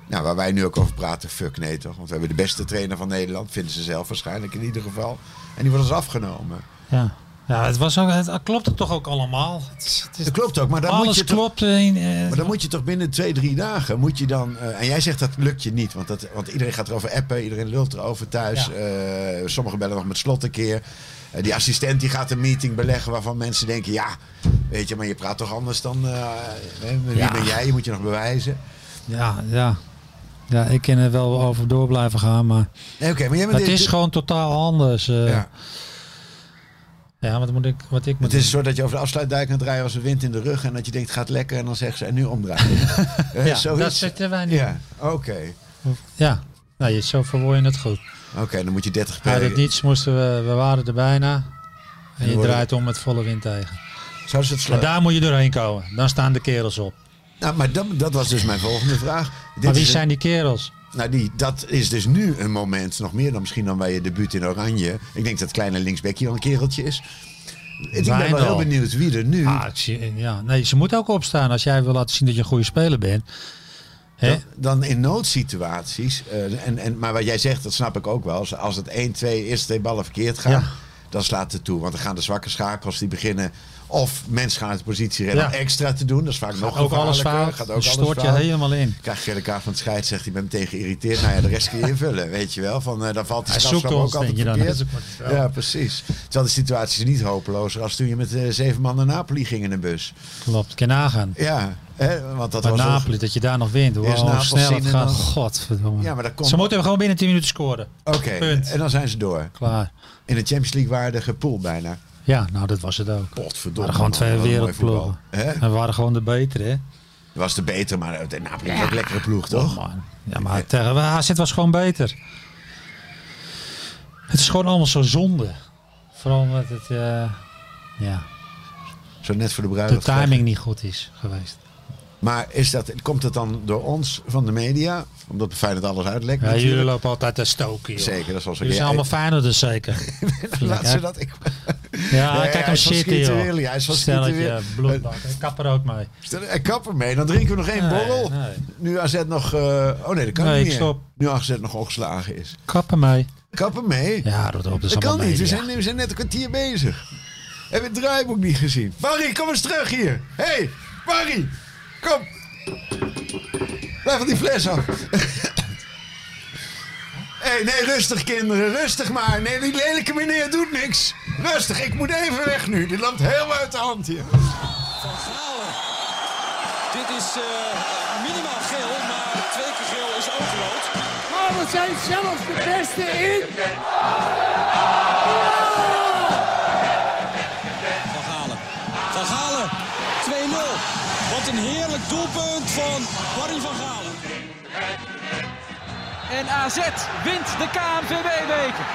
Speaker 3: Nou, waar wij nu ook over praten, fuck nee toch? Want we hebben de beste trainer van Nederland, vinden ze zelf waarschijnlijk in ieder geval. En die wordt ons afgenomen.
Speaker 4: Ja. Ja, het, was ook, het klopte toch ook allemaal. Het, is- het is-
Speaker 3: Dat klopt ook, maar daar moet
Speaker 4: alles
Speaker 3: je toch-
Speaker 4: klopt. eh, in, eh,
Speaker 3: Maar dan moet je toch binnen twee, drie dagen moet je dan. eh, en jij zegt dat lukt je niet. Want, dat, want iedereen gaat erover appen, iedereen lult erover thuis.
Speaker 4: Ja.
Speaker 3: Eh, sommigen bellen nog met slot een keer. Eh, die assistent die gaat een meeting beleggen waarvan mensen denken, ja, weet je, maar je praat toch anders dan. eh, hè, wie
Speaker 4: Ja.
Speaker 3: ben jij? Je moet je nog bewijzen.
Speaker 4: Ja, ja. Ja, ik kan er wel over door blijven gaan, maar
Speaker 3: Nee, oké, maar jij bent
Speaker 4: het is gewoon totaal anders. eh.
Speaker 3: Ja.
Speaker 4: ja. wat moet ik, wat ik moet
Speaker 3: Het is
Speaker 4: doen?
Speaker 3: zo dat je over de afsluitdijk aan het rijden was, een wind in de rug. En dat je denkt, gaat lekker. En dan zeggen ze, en nu omdraaien. Eh,
Speaker 4: ja,
Speaker 3: zoiets.
Speaker 4: dat zitten wij niet.
Speaker 3: Ja, oké.
Speaker 4: Ja, nou, je, zo verwoor je het goed.
Speaker 3: Oké, dan moet je 30
Speaker 4: Uit
Speaker 3: per.
Speaker 4: het niets moesten we, we waren er bijna. En je
Speaker 3: worden-
Speaker 4: draait om met volle wind tegen.
Speaker 3: Zou ze het
Speaker 4: En
Speaker 3: sluiten?
Speaker 4: daar moet je doorheen komen. Dan staan de kerels op.
Speaker 3: Nou, maar dat, dat was dus mijn volgende vraag. Dit
Speaker 4: Maar wie
Speaker 3: is een-
Speaker 4: zijn die kerels?
Speaker 3: Nou, die, dat is dus nu een moment, nog meer dan misschien dan bij je debuut in Oranje. Ik denk dat kleine linksbekje wel een kereltje is. Ik ben wel
Speaker 4: Wijndal.
Speaker 3: heel benieuwd wie er nu...
Speaker 4: Ah, ik zie- ja. Nee, ze moeten ook opstaan als jij wil laten zien dat je een goede speler bent. Hè?
Speaker 3: dan, dan in noodsituaties, eh, en, en, maar wat jij zegt, dat snap ik ook wel. Als- Als het 1, 2, eerste twee ballen verkeerd gaan,
Speaker 4: Ja.
Speaker 3: dan slaat het toe. Want dan gaan de zwakke schakels die beginnen... Of mensen gaan uit de positie rennen
Speaker 4: Ja.
Speaker 3: om extra te doen. Dat is vaak nog
Speaker 4: ook alles
Speaker 3: gevaarlijker.
Speaker 4: fout.
Speaker 3: Gaat
Speaker 4: Gaat
Speaker 3: ook alles
Speaker 4: stoort je
Speaker 3: fout.
Speaker 4: helemaal in.
Speaker 3: krijg je de kaart van het scheids, zegt hij, ben meteen geïrriteerd. Nou ja, de rest kun je invullen, weet je wel. Van, eh dan valt die
Speaker 4: Hij
Speaker 3: strafschop
Speaker 4: zoekt ons,
Speaker 3: ook altijd
Speaker 4: denk je dan.
Speaker 3: verkeerd.
Speaker 4: Hij zoekt ons wel.
Speaker 3: Ja, precies. Terwijl de situatie is niet hopelozer als toen je met eh, zeven man naar Napoli ging in een bus.
Speaker 4: Klopt, kan je nagaan.
Speaker 3: Ja, hè, want dat
Speaker 4: Bij
Speaker 3: was... wel-
Speaker 4: Napoli, dat je daar nog wint. Hoe
Speaker 3: Eerst Napels
Speaker 4: snel
Speaker 3: zien
Speaker 4: het
Speaker 3: en
Speaker 4: gaat.
Speaker 3: dan-
Speaker 4: Godverdomme.
Speaker 3: Ja, maar dat komt-
Speaker 4: Ze moeten gewoon binnen 10 minuten scoren.
Speaker 3: Oké,
Speaker 4: Punt.
Speaker 3: en dan zijn ze door.
Speaker 4: Klaar.
Speaker 3: In de Champions League waardige pool bijna.
Speaker 4: Ja, nou dat was het ook. We
Speaker 3: Potverdomme.
Speaker 4: waren gewoon
Speaker 3: man,
Speaker 4: twee
Speaker 3: wat een mooi
Speaker 4: wereldploegen.
Speaker 3: voetbal. Hè?
Speaker 4: En we waren gewoon de betere, hè?
Speaker 3: Was de beter, maar eh, Napoli was ook een lekkere ploeg, toch?
Speaker 4: Oh, Man. Ja, maar tegen AZ was gewoon beter. Het is gewoon allemaal zo zonde. Vooral omdat het, eh, ja,
Speaker 3: Zo net voor de
Speaker 4: de
Speaker 3: bruiloft.
Speaker 4: timing niet goed is geweest.
Speaker 3: Maar is dat, komt dat dan door ons, van de media? Omdat we Feyenoord alles uitlekt
Speaker 4: Ja,
Speaker 3: natuurlijk.
Speaker 4: jullie lopen altijd te stoken, joh.
Speaker 3: Zeker, dat is wel zo.
Speaker 4: Jullie zijn allemaal fijner dus zeker.
Speaker 3: Laat ze dat... Ik,
Speaker 4: Ja,
Speaker 3: Nee, hij
Speaker 4: kijk hem
Speaker 3: is van
Speaker 4: zitten,
Speaker 3: Schieten-Willy,
Speaker 4: joh.
Speaker 3: hij is van
Speaker 4: Stelletje,
Speaker 3: Schieten-Willy.
Speaker 4: bloedbak. Ik kap er ook mee.
Speaker 3: Stel- eh, Kap ermee, dan drinken we nog één
Speaker 4: Nee,
Speaker 3: borrel.
Speaker 4: nee.
Speaker 3: Nu AZ nog... eh, oh nee, dat kan
Speaker 4: Nee,
Speaker 3: niet
Speaker 4: ik
Speaker 3: meer.
Speaker 4: stop.
Speaker 3: Nu AZ nog ongeslagen is.
Speaker 4: Kap er mee.
Speaker 3: Kap ermee.
Speaker 4: Ja, dat op. Dat, is
Speaker 3: dat kan
Speaker 4: allemaal
Speaker 3: niet, we
Speaker 4: media.
Speaker 3: zijn, we zijn net een kwartier bezig. Heb je het draaiboek niet gezien? Barry, kom eens terug hier. Hé, hey, Barry. Kom. Blijf van die fles af. Hé, hey, nee, rustig kinderen, rustig maar. Nee, die lelijke meneer doet niks. Rustig, ik moet even weg nu. Dit loopt helemaal uit de hand hier.
Speaker 6: Van Galen. Dit is eh, minimaal geel, maar twee keer geel is ook rood.
Speaker 1: Maar Oh, we zijn zelf de beste in.
Speaker 6: Van Galen. Van Galen. 2-0. Wat een heerlijk doelpunt van Barry van Galen.
Speaker 7: En AZ wint de KNVB-beker.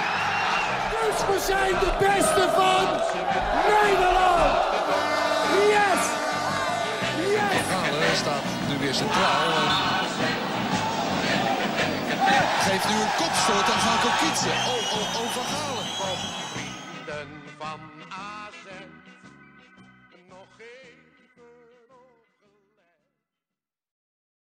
Speaker 1: Dus we zijn de beste van Nederland. Yes. Yes.
Speaker 2: Galen staat nu weer centraal. En
Speaker 6: Geef nu een kopstoot aan Gago Kietse. Oh, oh, oh, Van Gaal.